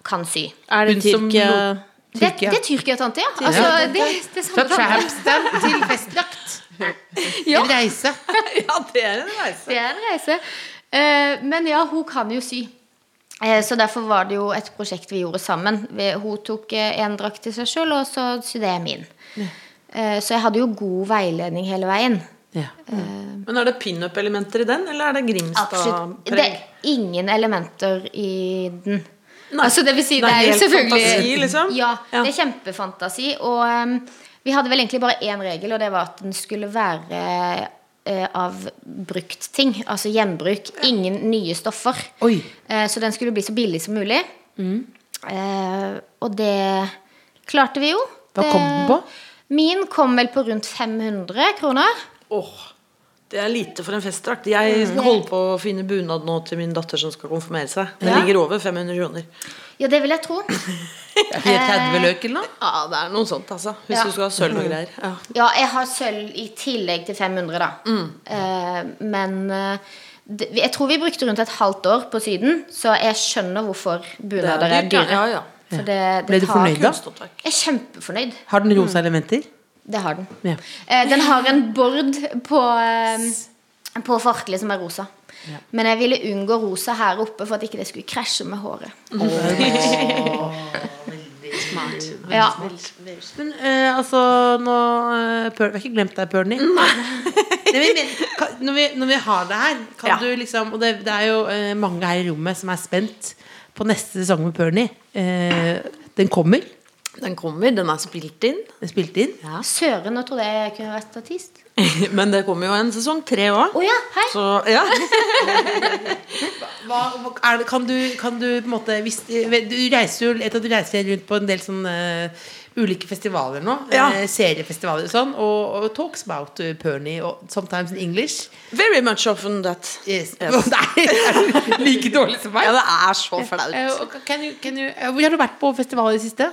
D: kan sy.
F: Er det
C: Hun som
F: Tyrkia
C: lo-
D: Det,
C: Tyrkia.
D: det er Tyrkia-tante, ja. Altså, det, det er
C: Fra
D: samme tante.
C: trampstamp til festdrakt.
D: Ja.
C: En reise.
E: Ja, det er en reise.
D: Det er en reise. Eh, Men ja, hun kan jo sy. Eh, Så derfor var det jo et prosjekt vi gjorde sammen. Vi- Hun tok eh, en drakt til seg sjøl, og så sydde jeg min. Eh, Så jeg hadde jo god veiledning hele veien.
C: Ja.
E: Mm. Men er det pinup-elementer i den, eller er det
D: Absolutt. Det
E: Grimstad-preg?
D: er ingen elementer i den.
E: Nei.
D: Altså, det vil si, det er, jo
E: helt
D: selvfølgelig
E: fantasi, liksom.
D: Ja,
E: Ja.
D: det er kjempefantasi. Og um, vi hadde vel egentlig bare én regel, og det var at den skulle være eh, av brukt ting. Altså gjenbruk. Ingen nye stoffer.
C: Oi.
D: Eh, så den skulle bli så billig som mulig.
E: Mm.
D: Eh, og det klarte vi jo. Eh,
C: Hva kom den på?
D: Min kom vel på rundt 500 kroner.
E: Åh, det er lite for en festdrakt. Jeg holder på å finne bunad nå til min datter som skal konfirmere seg. Den
D: Ja.
E: ligger over 500 kroner.
D: Ja, det vil jeg tro.
C: I
E: Eh,
C: et 30 løk eller noe?
E: Ja, det er noe sånt, altså. Hvis
D: Ja.
E: du skal ha sølv og greier. Ja.
D: Ja, jeg har sølv i tillegg til 500, da.
C: Mm.
D: Eh, men eh, det, jeg tror vi brukte rundt et halvt år på Syden, så jeg skjønner hvorfor bunader er
E: dyrt, ja.
D: dyre.
E: Ja, ja.
D: For det, det
C: Ble du
D: tar-
C: fornøyd, da?
E: Kunstnåtverk.
D: Jeg er kjempefornøyd.
C: Har den rosa elementer?
D: Det har den.
C: Ja.
D: Eh, den har en bord på, eh, på forkleet som er rosa. Men jeg ville unngå rosa her oppe for at ikke det skulle krasje med håret. Ja.
C: Men eh, altså nå, eh, Pearl- Vi har ikke glemt deg, Perny. Når, vi- når vi har deg her, kan
E: Ja.
C: du liksom Og det, det er jo eh, mange her i rommet som er spent på neste sesong med Perny. Eh, den kommer.
E: Den kommer, den er spilt inn.
C: Den er spilt inn.
D: Søren, nå trodde jeg jeg kunne vært artist.
E: Men det kommer jo en sesong tre òg.
D: Å ja, hei!
E: Så ja.
C: Hva, hva- er det, kan, du, kan du på en måte hvis, eh, Du reiser jo etter at du reiser rundt på en del sånne eh, ulike festivaler nå.
E: Ja.
C: eh, seriefestivaler og sånn. Og, og talks about eh, Perny, og sometimes in English.
E: Very much often that.
C: Yes.
E: Yes.
C: Nei, er du like dårlig som meg?
E: Ja, det er så flaut.
C: Eh, og kan du- kan du- eh, Hvor har du vært på festival i det siste?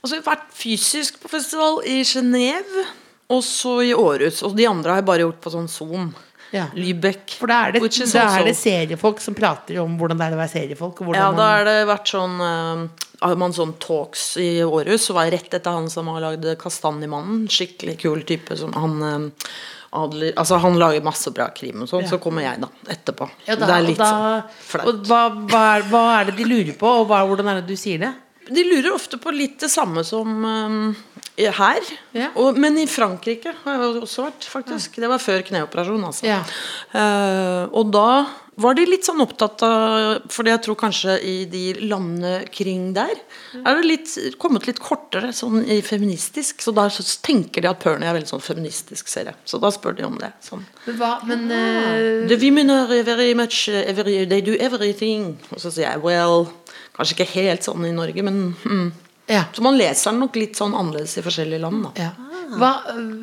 E: Altså, jeg har vært fysisk på festival i Genéve, og så i Århus. Og de andre har jeg bare gjort på sånn Zoom.
C: Ja.
E: Lübeck.
C: For da er det,
E: which is
C: da
E: also-
C: er det seriefolk som prater om hvordan det er å være seriefolk. Og hvordan
E: Ja, da
C: man-
E: har det vært sånn eh, Har man sånn talks i Århus, så var jeg rett etter han som har lagd 'Kastanjemannen'. Skikkelig kul type som han eh, Adler Altså, han lager masse bra krim og sånn, så kommer jeg, da, etterpå.
C: Ja, da,
E: det er litt
C: da,
E: sånn flaut.
C: Og hva, hva, er, hva er det de lurer på, og hva, hvordan er det du sier det?
E: De lurer ofte på litt det samme som eh, her.
C: Ja.
E: Og, men i Frankrike har jeg også vært, faktisk. Det var før kneoperasjon, altså.
C: Ja.
E: Eh, og da var de litt sånn opptatt av Fordi jeg tror kanskje i de landene kring der er det litt, kommet litt kortere sånn i feministisk. Så da så tenker de at Perny er veldig sånn feministisk serie. Så da spør de om det. Sånn.
C: Men, hva, men eh,
E: The women are very much eh, every, They do everything. Og så sier jeg well Kanskje ikke helt sånn i Norge, men mm.
C: ja.
E: Så man leser den nok litt sånn annerledes i forskjellige land. Da.
C: Ja. Hva,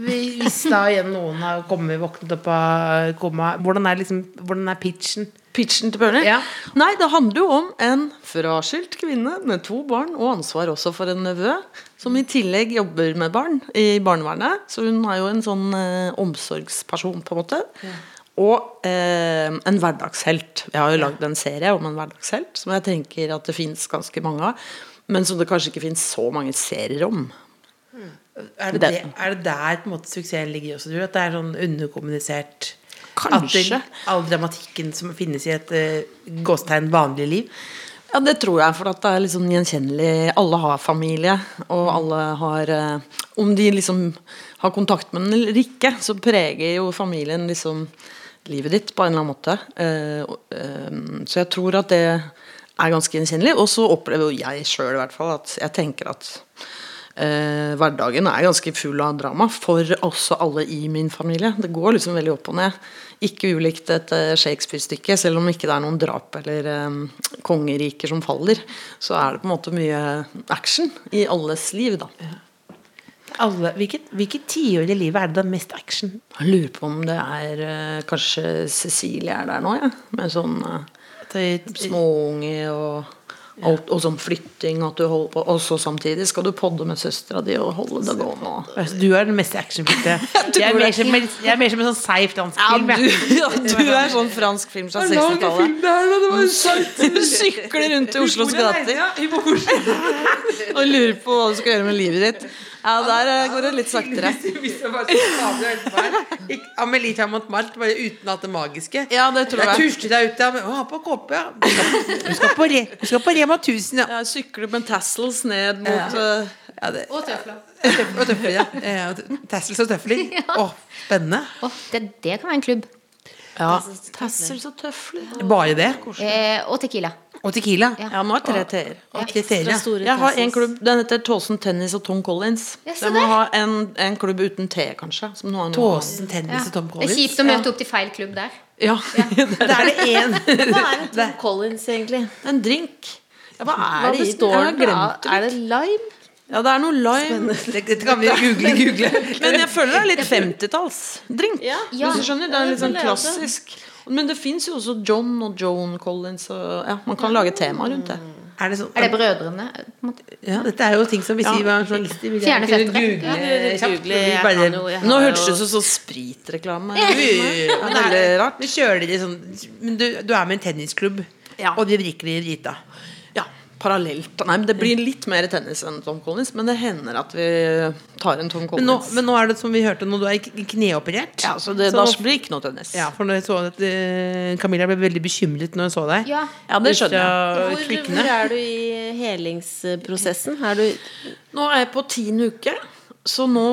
C: hvis da igjen noen har kommet våknet opp av koma, hvordan er, liksom, hvordan er pitchen?
E: Pitchen til Bjørnar?
C: Ja.
E: Nei, det handler jo om en fraskilt kvinne med to barn og ansvar også for en nevø, som i tillegg jobber med barn i barnevernet. Så hun er jo en sånn eh, omsorgsperson, på en måte. Og eh, en hverdagshelt. Jeg har jo lagd en serie om en hverdagshelt som jeg tenker at det fins ganske mange av, men som det kanskje ikke fins så mange serier om.
C: Er det, det, er det der på en måte suksessen ligger også, tror du? At det er sånn underkommunisert
E: Kanskje.
C: At det, all dramatikken som finnes i et uh, gåstegn vanlig liv.
E: Ja, det tror jeg, for at det er litt sånn gjenkjennelig. Alle har familie, og alle har eh, Om de liksom har kontakt med den eller ikke, så preger jo familien liksom livet ditt på en eller annen måte. Eh, og, eh, så jeg tror at det er ganske gjenkjennelig. Og så opplever jo jeg sjøl i hvert fall at jeg tenker at eh, hverdagen er ganske full av drama for også alle i min familie. Det går liksom veldig opp og ned. Ikke ulikt et eh, Shakespeare-stykke, selv om ikke det er noen drap eller eh, kongeriker som faller. Så er det på en måte mye action i alles liv, da.
C: Alle, hvilket, hvilket tiår i livet er det det er mest action?
E: Jeg lurer på om det er eh, kanskje Cecilie er der nå, ja. Med sånn eh, småunge og alt, og sånn flytting at du holder på. Og så samtidig skal du podde med søstera di og holde det gående. og-
C: Altså, du er den mest actionfylte. Jeg, er mer som- jeg er mer som en sånn seig fransk
E: Ja,
C: film.
E: du,
C: jeg.
E: ja, du er sånn fransk film fra 60-tallet. Du sykler rundt i Oslos gater og lurer på hva du skal gjøre med livet ditt. Ja, der eh, går det litt saktere.
C: Hvis det var så sabla utenfor her. Ikke- Amelie Chamont Malt, bare uten alt det magiske.
E: Ja, det tror jeg.
C: tusler deg ut ja, men- Å, ha på kåpe, ja. Du skal- Du skal på, re, du skal på Rema 1000, ja.
E: Jeg sykler med tassels ned mot eh,
C: ja det,
D: Og tøfler.
C: og tøfler, ja. Eh, og t- Tassels og tøfler. Å, spennende.
D: det, det kan være en klubb.
C: Ja,
E: Tassels og tøfler.
C: Bare det.
D: Eh, og Tequila.
C: Og Tequila.
D: Ja.
E: Ja, nå er tre t-er.
C: Og kriterier.
F: Ekstra store
E: Jeg har en
F: tassels.
E: klubb, Den heter Tåsen Tennis og Tom Collins.
D: Ja, se
E: Jeg må
D: der.
E: ha en, en klubb uten T, kanskje. Som nå er noe-
C: Tåsen tennis og Tom
D: Det er
C: Collins.
D: kjipt å møte opp til feil klubb der.
E: Ja.
C: Da er det én.
F: Hva er en Tom Collins, egentlig?
E: En drink. Ja, hva
F: Hva
E: er det i den?
F: består
E: Jeg har
F: den
E: glemt
F: av?
E: det.
F: Er det lime?
E: Ja, det er noe lime.
C: Dette kan vi google. google.
E: Men jeg føler det er litt 50-talls-drink.
F: Ja.
E: Hvis du skjønner, Det er litt
F: Ja, det
E: sånn
F: vil jeg også.
E: klassisk. Men det fins jo også John og Joan Collins. Og, ja, man kan lage tema rundt det.
F: Mm.
C: Er det sånn
D: Er det brødrene? på en måte?
C: Ja, dette er jo ting som hvis vi var journalister ville
D: Fjerne
C: kunne
D: fettere.
C: google kjapt.
F: Google, jeg
C: Bare-
F: kan jo- jeg
E: Nå
F: har
E: hørtes
F: jo-
E: det ut som sånn spritreklame.
C: Ja, men er
E: Veldig
C: det-
E: rart.
C: Men kjører dere sånn Men du, du er med i en tennisklubb,
E: Ja.
C: og de drikker i Rita.
E: Ja, parallelt. Nei, men Det blir litt mer tennis enn Tom Collins, men det hender at vi tar en Tom
C: Men
E: Collins.
C: nå, men nå er det som vi hørte, nå du er ikke- kneoperert.
E: ja, så det,
C: Så-
E: da blir det ikke noe tennis.
C: ja, for når jeg så at eh, Camilla ble veldig bekymret når hun så deg.
D: Ja.
E: Ja, det skjønner jeg.
C: jeg.
F: Hvor, hvor er du i helingsprosessen? Er du
E: Nå er jeg på tiende uke, så nå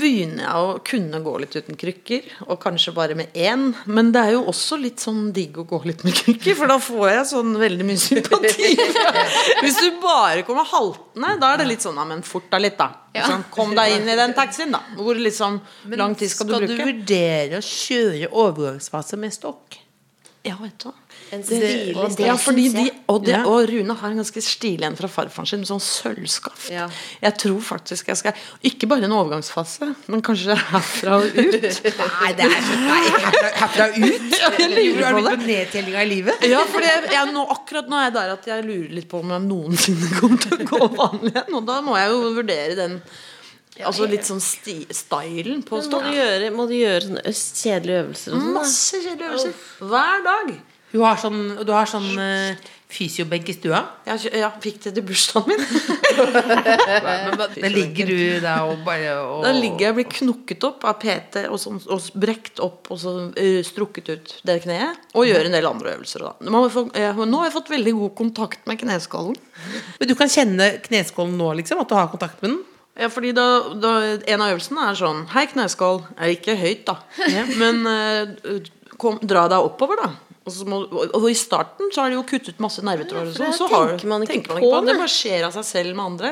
E: begynner jeg å kunne gå litt uten krykker. Og kanskje bare med én. Men det er jo også litt sånn digg å gå litt med krykker, for da får jeg sånn veldig mye sympati. Hvis du bare kommer haltende, da er det litt sånn ja, men fort deg litt, da. Sånn, kom deg inn i den taxien, da. Hvor liksom lang tid skal du
C: Skal du
E: bruke?
C: vurdere å kjøre overgangsfase med stokk?
E: Ja, vet du hva.
F: en stilig
D: og det
E: Ja, fordi
D: synes
E: de,
D: jeg.
E: og, det,
C: Ja.
E: og Rune har en ganske stilig en fra farfaren sin, med sånn sølvskaft.
F: Ja.
E: Jeg tror faktisk jeg skal Ikke bare en overgangsfase, men kanskje herfra og ut.
C: Nei, det er så Nei, herfra, herfra ut?
E: Ja, jeg lurer på det.
C: nedtellinga i livet?
E: Ja, for jeg, jeg, nå, akkurat nå er jeg der at jeg lurer litt på om jeg noensinne kommer til å gå vanlig igjen. Og da må jeg jo vurdere den Altså litt sånn sti, stylen på
F: må du
E: stokk.
F: gjøre, må du gjøre sånne øst- kjedelige øvelser og sånn? da?
E: Masse kjedelige øvelser. Hver dag.
C: Du har sånn, du har sånn eh, fysiobenk i stua.
E: Jeg kjø- ja, fikk det til bursdagen min.
C: Da ligger du da og bare og,
E: Da ligger jeg og blir knukket opp av PT og, sånn- og s- brekt opp og så eh, strukket ut det kneet. Og gjør en del andre øvelser. Da. Nå har jeg fått- eh, nå har jeg fått veldig god kontakt med kneskålen.
C: Men du kan kjenne kneskålen nå, liksom? At du har kontakt med den?
E: Ja, fordi da, da, En av øvelsene er sånn Hei, kneskål. Er ikke høyt, da. Men eh, kom, dra deg oppover, da. Og, så må, og, og i starten så har de jo kuttet masse nervetråder. og
F: for det
E: sånn, så har-
F: tenker man ikke
E: på.
F: på,
E: Det
F: nei.
E: bare skjer av seg selv med andre.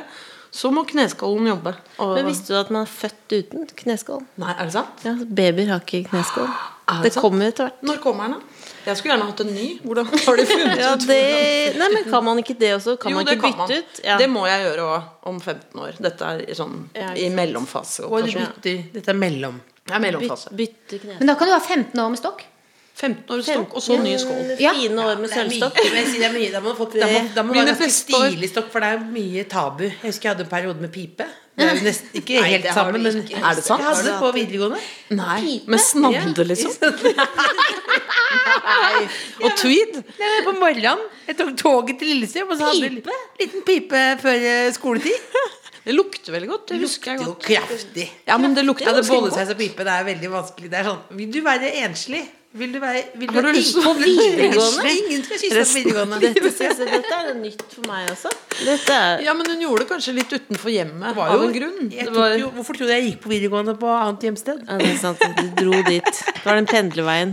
E: Så må kneskålen jobbe. Og,
F: Men visste du at man er født uten kneskål?
E: Nei, er det sant?
F: Ja, Babyer har ikke kneskål. Altså.
E: Er det
F: Det
E: sant?
F: kommer etter hvert.
E: Når kommer den, da? Jeg skulle gjerne hatt en ny. Hvordan har de funnet
F: Ja,
E: ut?
F: det, nei, men Kan man ikke det også? Kan
E: Jo,
F: man
E: det
F: ikke
E: kan
F: bytte
E: man.
F: ut? Ja.
E: Det må jeg gjøre òg om 15 år. Dette er i sånn
F: Ja, ikke
E: i
F: sant.
E: mellomfase.
C: Og du
E: operasjon.
C: bytter. Dette er mellom.
E: Ja, mellomfase.
F: bytte, bytte kneskål.
D: Men da kan du ha 15 år med stokk.
E: 15 år stokk, og så ny skål.
D: Ja.
F: Fine år med sølvstokk.
C: Men jeg sier det er mye, Da må du få da må, da må du
E: Mine
C: være ganske
E: beste Eh, år.
C: stilig stokk, for det er mye tabu. Jeg husker jeg hadde en periode med pipe. Det er jo nesten ikke
E: Nei,
C: helt
E: det har
C: sammen,
E: du
C: men
E: ikke. Er det sant?
C: jeg hadde det på videregående.
E: Nei, Med snadde, liksom. Og tweed.
C: Nei, men på morgenen Jeg tok toget til Lillestrøm, og så hadde jeg en liten pipe før eh, skoletid.
E: Det lukter veldig godt. Det husker jeg
C: Jo,
E: godt.
C: kraftig.
E: Ja, men det lukter
C: Ja, det
E: ganske
C: boller
E: godt.
C: seg som pipe. Det er veldig vanskelig. Det er sånn, vil du være enslig? Vil du være vil
E: Har du
C: være
E: lyst til å
C: enslig?
F: videregående?
C: Ingen skal kysse på videregående.
F: Dette, synes jeg- dette er nytt for meg også. Dette er,
E: Ja, men hun gjorde det kanskje litt utenfor hjemmet
C: var
E: av
C: jo-
E: en grunn.
C: Jeg
E: Det
C: tok
E: var,
C: jo, hvorfor trodde jeg jeg gikk på videregående på annet hjemsted?
F: ja, det er sant, du dro dit. Det var den pendlerveien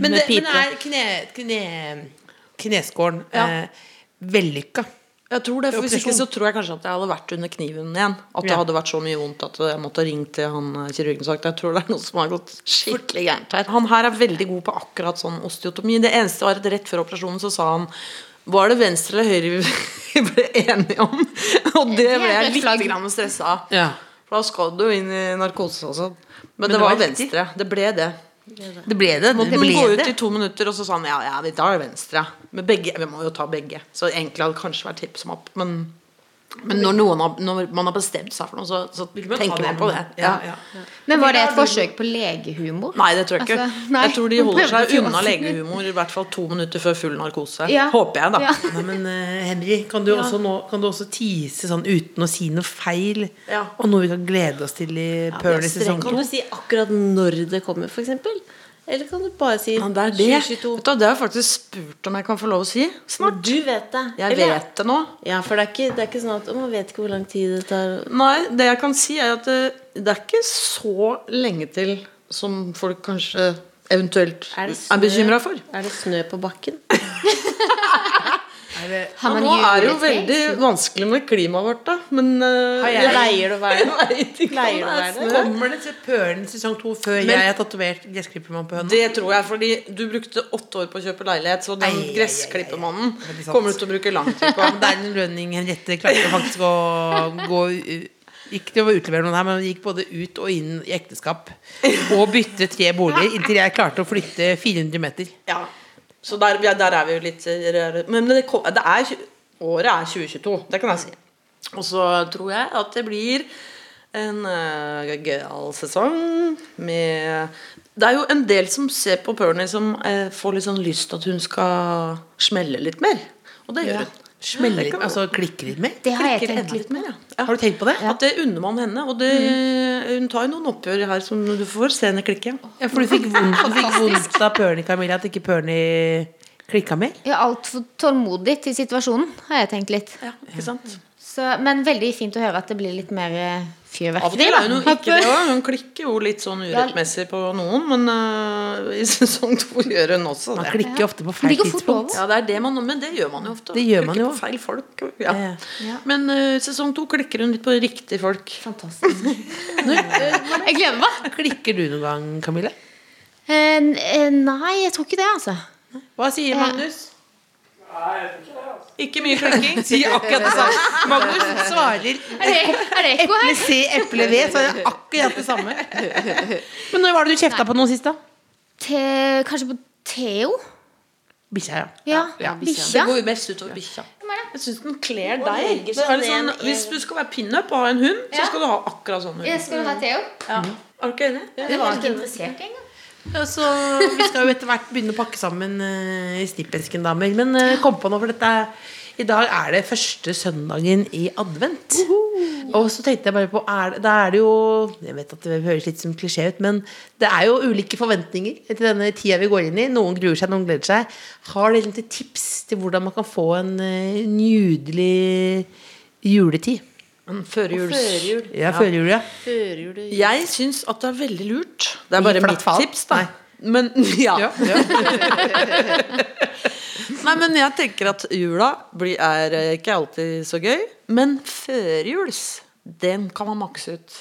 C: Men,
F: med
C: det,
F: pipe.
C: men er kne, kne, kneskålen
E: Ja.
C: eh, vellykka?
E: jeg tror det, for Hvis ikke
C: Operasjon.
E: så tror jeg kanskje at jeg hadde vært under kniven igjen. At det
C: Ja.
E: hadde vært så mye vondt at jeg måtte ha ringt til han eh, kirurgen og sagt jeg tror det er noe som har gått skikkelig gærent her. Han her er veldig god på akkurat sånn osteotomi. Det eneste var at rett før operasjonen så sa han var det venstre eller høyre vi ble enige om? Og det
D: er
E: ble jeg
D: et flagg.
E: litt grann stressa av.
C: Ja.
E: For da skal du jo inn i narkose og sånn. Men, det,
C: det
E: var,
C: var riktig.
E: venstre. Det ble det.
C: Det ble det.
E: Måtte
C: det,
E: man gå
C: ble
E: ut
C: det.
E: i to minutter, og så sa han ja, ja, vi tar venstre. Men begge, vi må jo ta begge. Så egentlig hadde det kanskje vært hipp som opp, men men når, noen har, når man har bestemt seg for noe, så, så
C: Vil man ta
E: tenker man
C: det?
E: på det.
C: Ja,
E: Ja.
C: ja.
D: Men var det et forsøk på legehumor?
E: Nei, det tror jeg ikke.
D: Altså, nei.
E: Jeg tror de holder
D: Prøvde
E: seg
D: å
E: unna
D: fjase.
E: legehumor i hvert fall to minutter før full narkose.
D: Ja.
E: Håper jeg, da.
D: Ja.
C: Nei, men eh, Henry, kan du, også nå, kan du også tease sånn uten å si noe feil?
E: Ja.
C: Og noe vi kan glede oss til i Pearl i sesong
F: Kan
C: to?
F: du si akkurat når det kommer, for eksempel? Eller kan du bare si
E: Men det er det. Vet
F: 2022?
E: du, det har jeg faktisk spurt om jeg kan få lov å si. Snart.
F: Du vet det.
E: Jeg
F: Eller-
E: vet det nå.
F: Ja, for det er ikke, det er ikke sånn at å, man vet ikke hvor lang tid det tar.
E: Nei, det jeg kan si er at det, det er ikke så lenge til som folk kanskje eventuelt
F: Er
E: er,
F: det snø?
E: bekymra for.
F: Er det snø på bakken?
D: Har man
E: nå er det jo
D: juletre?
E: veldig vanskelig med klimaet vårt, da. Men eh,
F: Pleier
E: jeg
F: det å være det?
E: vet ikke om
F: Pleier det å
E: det er
F: være det?
E: snø.
C: Kommer det til Pølen sesong to før jeg har tatovert gressklippermann på høna?
E: Det tror jeg, fordi du brukte åtte år på å kjøpe leilighet, så den
C: Ei, ei, ei, ei.
E: gressklippermannen
C: Veldig sant.
E: kommer du til å bruke lang tid på.
C: Men det er en lønning Henriette klarte faktisk å gå u- Ikke til å utlevere noen her, men hun gikk både ut og inn i ekteskap. Og bytte tre boliger inntil jeg klarte å flytte 400 meter.
E: Ja. Så der, ja, der er vi jo litt rare. Men det, kom, det er, tjue- året er 2022, det kan jeg si. Og så tror jeg at det blir en uh, gøyal sesong med Det er jo en del som ser på Pernie som eh, får litt sånn lyst til at hun skal smelle litt mer. Og det gjør hun.
C: Smelle litt, altså klikke litt mer.
D: Det har jeg
E: Klikker
D: tenkt
E: enda
D: litt på.
E: mer, ja. ja.
C: Har du tenkt på det?
E: At det unner man henne. Og det,
D: Mm.
E: hun tar jo noen oppgjør her som du får se henne klikke.
C: Ja, for du fikk vondt, du fikk vondt av Pernie, Camilla, at ikke Pernie klikka mer?
D: Jeg er altfor tålmodig til situasjonen, har jeg tenkt litt.
E: Ja, ikke sant?
D: Så, men veldig fint å høre at det blir litt mer eh,
E: Av og
D: fyrverkeri.
E: til er hun jo
D: da.
E: ikke det også. Hun klikker jo litt sånn urettmessig på noen, men øh, i sesong to gjør hun også
C: Man
E: det.
C: klikker ofte på
D: Men
C: feil
D: det går fort
C: tidspunkt.
E: Ja, det er det man, men det gjør man jo ofte.
C: Det gjør man
E: Klikker
C: jo.
E: på feil folk. og- Ja.
C: Ja.
D: Ja.
E: Men øh, sesong to klikker hun litt på riktige folk.
D: Fantastisk. jeg gleder meg.
C: Klikker du noen gang, Camille?
D: Eh, n- eh, nei, jeg tror ikke det, altså.
C: Hva sier Magnus?
G: Nei, jeg tror ikke det. altså.
E: Ikke mye klikking.
C: Sier akkurat det samme. Magnus svarer
D: Er det, er det ekko
C: Eple
D: her?
C: C, eple V, så er det akkurat det samme. Men når var det du kjefta på noen sist, da?
D: Te, kanskje på Theo?
C: Bikkja, ja.
D: Ja.
E: Ja,
D: Bikkja?
E: Det går jo mest utover bikkja. Jeg syns den kler deg. Det er
F: legge
E: litt
F: seg
E: sånn,
F: ned i-
E: hvis du skal være pinup og ha en hund, så skal du ha akkurat sånn hund.
D: Skal du ha Theo?
E: Er du ikke enig?
D: Jeg var ikke interessert engang.
C: Og Så vi skal jo etter hvert begynne å pakke sammen eh, i Stippensken, damer. Men eh, kom på nå, for dette er- i dag er det første søndagen i advent. Og så tenkte jeg bare på er, det- Da er det jo Jeg vet at det høres litt som klisjé ut, men det er jo ulike forventninger til denne tida vi går inn i. Noen gruer seg, noen gleder seg. Har dere noen tips til hvordan man kan få en eh, nydelig juletid?
E: Sånn Førjuls...
F: Førjul.
C: Ja, førjul, ja.
F: Førjul og
E: Jeg syns at det er veldig lurt. Det er
C: Gi
E: bare
C: flatt
E: mitt
C: faen.
E: tips, da.
C: Nei.
E: Men, ja.
C: Ja, ja.
E: Nei, men jeg tenker at jula blir, er eh, ikke alltid så gøy. Men førjuls, den kan man makse ut.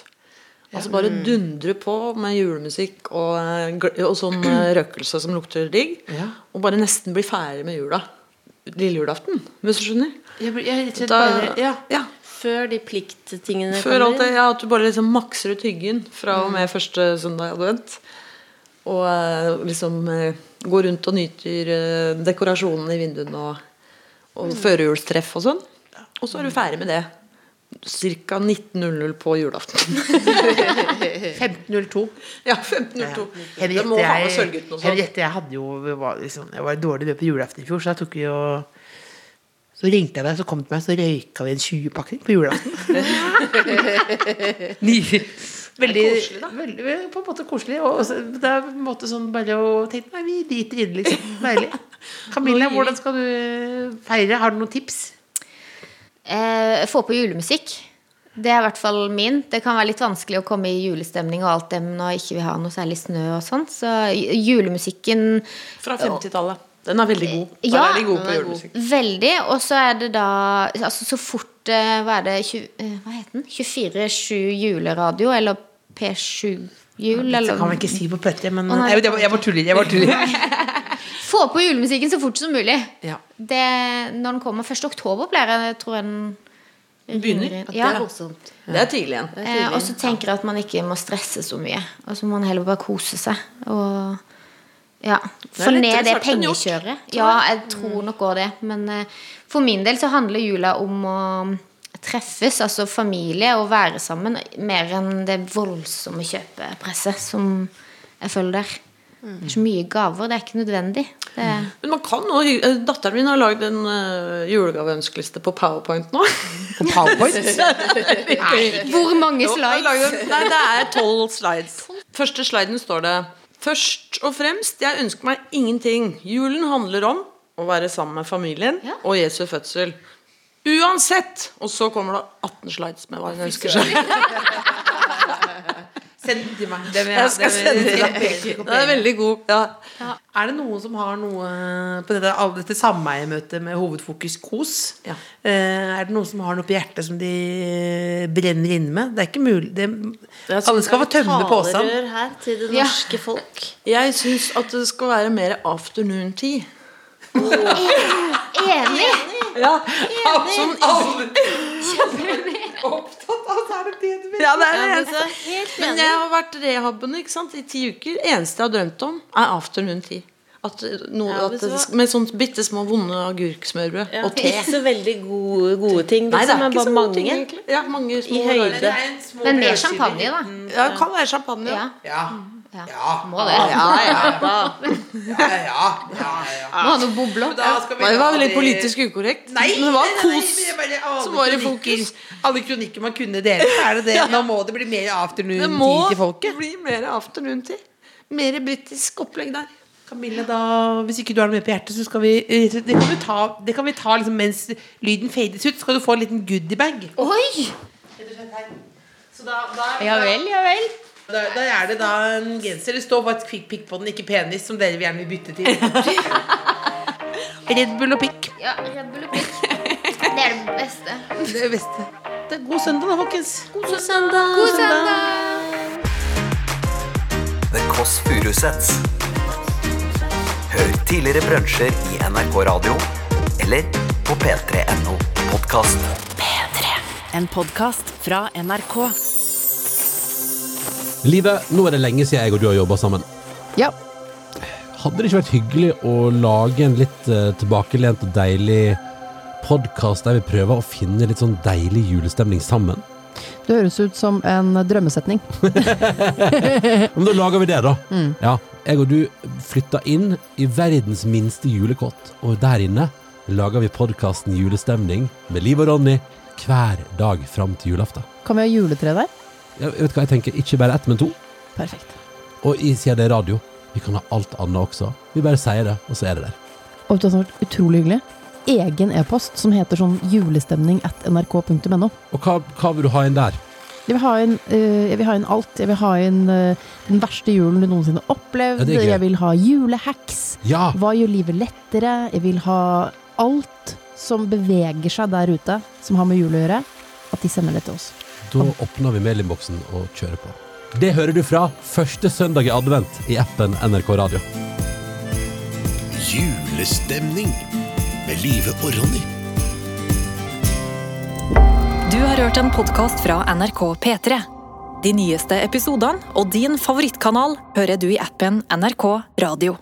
E: Altså bare
C: Mm.
E: dundre på med julemusikk og, eh, gl- og sånn eh, røkelse som lukter digg.
C: Ja.
E: Og bare nesten bli ferdig med jula. Lille julaften, hvis du skjønner.
C: Jeg blir- jeg er rett og slett
E: Da-
C: bare Ja.
E: ja.
F: Før de plikttingene
E: Før alt det,
F: kommer.
E: ja, at du bare liksom makser ut hyggen fra og med første søndag i advent. Og eh, liksom eh, går rundt og nyter eh, dekorasjonene i vinduene og, og førjulstreff og sånn. Og så er du ferdig med det. Ca. 19.00 på julaften.
C: 1502.
E: ja, 15.02. Det
C: Henriette,
E: må faen meg
C: jeg-
E: sørge ut noe sånt.
C: Henriette, jeg hadde jo vi var liksom, Jeg var i dårlig løp på julaften i fjor, så jeg tok jo Så ringte jeg deg, så kom du til meg, så røyka vi en 20-pakke på julaften. Nydelig. Veldig,
E: koselig, da.
C: veldig, på en måte koselig. Og også- det er på en måte sånn bare å tenke Nei, vi driter i det, liksom. Deilig. Camilla,
E: Nå gir vi.
C: hvordan skal du feire? Har du noen tips?
D: Eh, få på julemusikk. Det er i hvert fall min. Det kan være litt vanskelig å komme i julestemning og alt det når ikke vi har noe særlig snø og sånn. Så j- julemusikken
E: sånn, Fra 50-tallet. Den er veldig god. Der
D: Ja,
E: er de gode
D: den
E: på
D: er
E: julemusikk.
D: Veldig. Og så er det da altså Så fort eh, Hva er det tju- eh, Hva heter den? 24-7 juleradio, eller P7 jul,
C: Det
D: eller
C: kan vi ikke si på P3, men
D: Å, nei,
C: jeg, jeg, jeg var tuller. Jeg var tuller.
D: Få på julemusikken så fort som mulig.
C: Ja.
D: Det, når den kommer 1. oktober, blir det, tror jeg den
E: Begynner.
D: Ja.
F: Det er voldsomt.
E: Det er tidlig igjen.
D: Eh, og så tenker jeg at man ikke må stresse så mye. Og så må man heller bare kose seg. Og ja, Få
E: lettere
D: ned det
E: sagt enn gjort, Mm.
D: pengekjøret. Ja, jeg tror nok òg det. Men eh, for min del så handler jula om å treffes, altså familie, og være sammen, mer enn det voldsomme kjøpepresset som jeg føler der.
E: Mm.
D: Det er så mye gaver. Det er ikke nødvendig. Det er
E: Men man kan nå, hy- eh, Datteren min har lagd en eh, julegaveønskeliste på Powerpoint nå.
C: På Powerpoint.
D: Hvor mange
E: Jo, jeg
D: slides?
E: lagde- Nei, det er tolv slides. Første sliden står det Først og fremst, jeg ønsker meg ingenting. Julen handler om å være sammen med familien
D: Ja.
E: og Jesu fødsel. Uansett! Og så kommer det 18 slides med hva hun ønsker seg.
C: Send den til meg. Det vil
E: Jeg skal
C: det vil-
E: sende det
C: det vil-
E: Det er veldig god. Ja.
C: Er det noen som har noe på dette, alle dette sameiemøtet med hovedfokus kos?
E: Ja.
C: Eh, Er det noen som har noe på hjertet som de brenner inne med? Det er ikke mulig det,
E: Jeg synes
C: Alle skal få tømme posen.
F: Altså, Talerør her til det
D: Ja.
F: norske folk.
E: Jeg syns at det skal være mer afternoon-tid.
D: Enig!
E: Ja. Sånn, ja, det er det eneste. Men jeg har vært rehaben ikke sant? i ti uker. Eneste jeg har drømt om, er afternoon tea. At eh, noe,
F: Ja,
E: at,
F: vet du
E: det-
F: hva?
E: med sånne bitte små vonde agurksmørbrød
F: Ja.
E: og te.
F: Ikke så veldig gode, gode ting.
E: Nei, det
F: som
E: er ikke så
F: bare
E: mange.
F: mange.
E: egentlig. Ja, mange små
F: I høyde.
E: rare-
F: Det
D: Men mer champagne, da.
E: Ja, det kan være champagne.
D: Ja.
E: Ja.
C: Ja.
D: Ja.
C: Ja.
D: Må det.
E: Ja, ja, da.
C: Ja, ja, ja, ja.
D: Må ha noe bobler.
C: Da skal vi
E: Nei, Det var
C: ha
E: litt
C: de-
E: politisk ukorrekt.
C: Nei,
E: men det var
C: nei, nei, nei,
E: kos.
C: det er bare alle
E: som var i
C: kronikker-
E: fokus.
C: Alle kronikker man kunne dele, så er det det. Nå må det bli mer
E: Det må
C: afternoon-tid til folket.
E: bli mer afternoon tea. Mer britisk opplegg der.
C: Camilla, da, hvis ikke du har noe mer på hjertet, så skal vi eh, Det kan, du ta, det kan vi ta liksom, mens lyden fades ut. Så skal du få en liten goodiebag.
D: Oi!
C: Så da, da,
D: Ja vel, ja vel.
C: da, da er det da en genser. Det står faktisk pikk, pikk på den, ikke penis, som dere gjerne vil bytte til. Red Bull og pikk.
D: Ja, Red Bull og prikk. Det er det beste.
C: Det er beste. Det er god søndag, da, folkens.
F: God søndag!
D: God søndag!
B: The Kåss Furuseths. Hør tidligere brunsjer i NRK Radio eller på p3.no podkast.
H: En podkast fra NRK.
I: Live, nå er det lenge siden jeg og du har jobba sammen.
J: Ja.
I: Hadde det ikke vært hyggelig å lage en litt eh, tilbakelent og deilig podkast der vi prøver å finne litt sånn deilig julestemning sammen?
F: Det høres ut som en drømmesetning. Mm.
I: Men da lager vi det, da. Ja. Jeg og du flytter inn i verdens minste julekott, og der inne lager vi podkasten Julestemning med Liv og Ronny hver dag fram til julaften.
F: Kan vi ha juletre der?
I: Jeg vet hva jeg tenker, ikke bare ett, men to.
F: Perfekt.
I: Og i- siden det er radio, vi kan ha alt annet også. Vi bare sier det, og så er det der.
F: Og vet du hva som har vært utrolig hyggelig? Egen e-post som heter sånn julestemning at nrk.no.
I: Og hva, hva vil du ha inn der?
F: Jeg vil ha inn, eh, jeg vil ha inn alt. Jeg vil ha inn eh, den verste julen du noensinne har
I: Ja,
F: opplevd.
I: det er gøy.
F: jeg vil ha julehacks.
I: Ja!
F: Hva gjør livet lettere? Jeg vil ha alt som beveger seg der ute, som har med jul å gjøre. At de sender det til oss.
I: Da åpner vi mailinnboksen og kjører på. Det hører du fra første søndag i advent i appen NRK Radio.
K: Julestemning med Live og Ronny.
A: Du har hørt en podkast fra NRK P3. De nyeste episodene og din favorittkanal hører du i appen NRK Radio.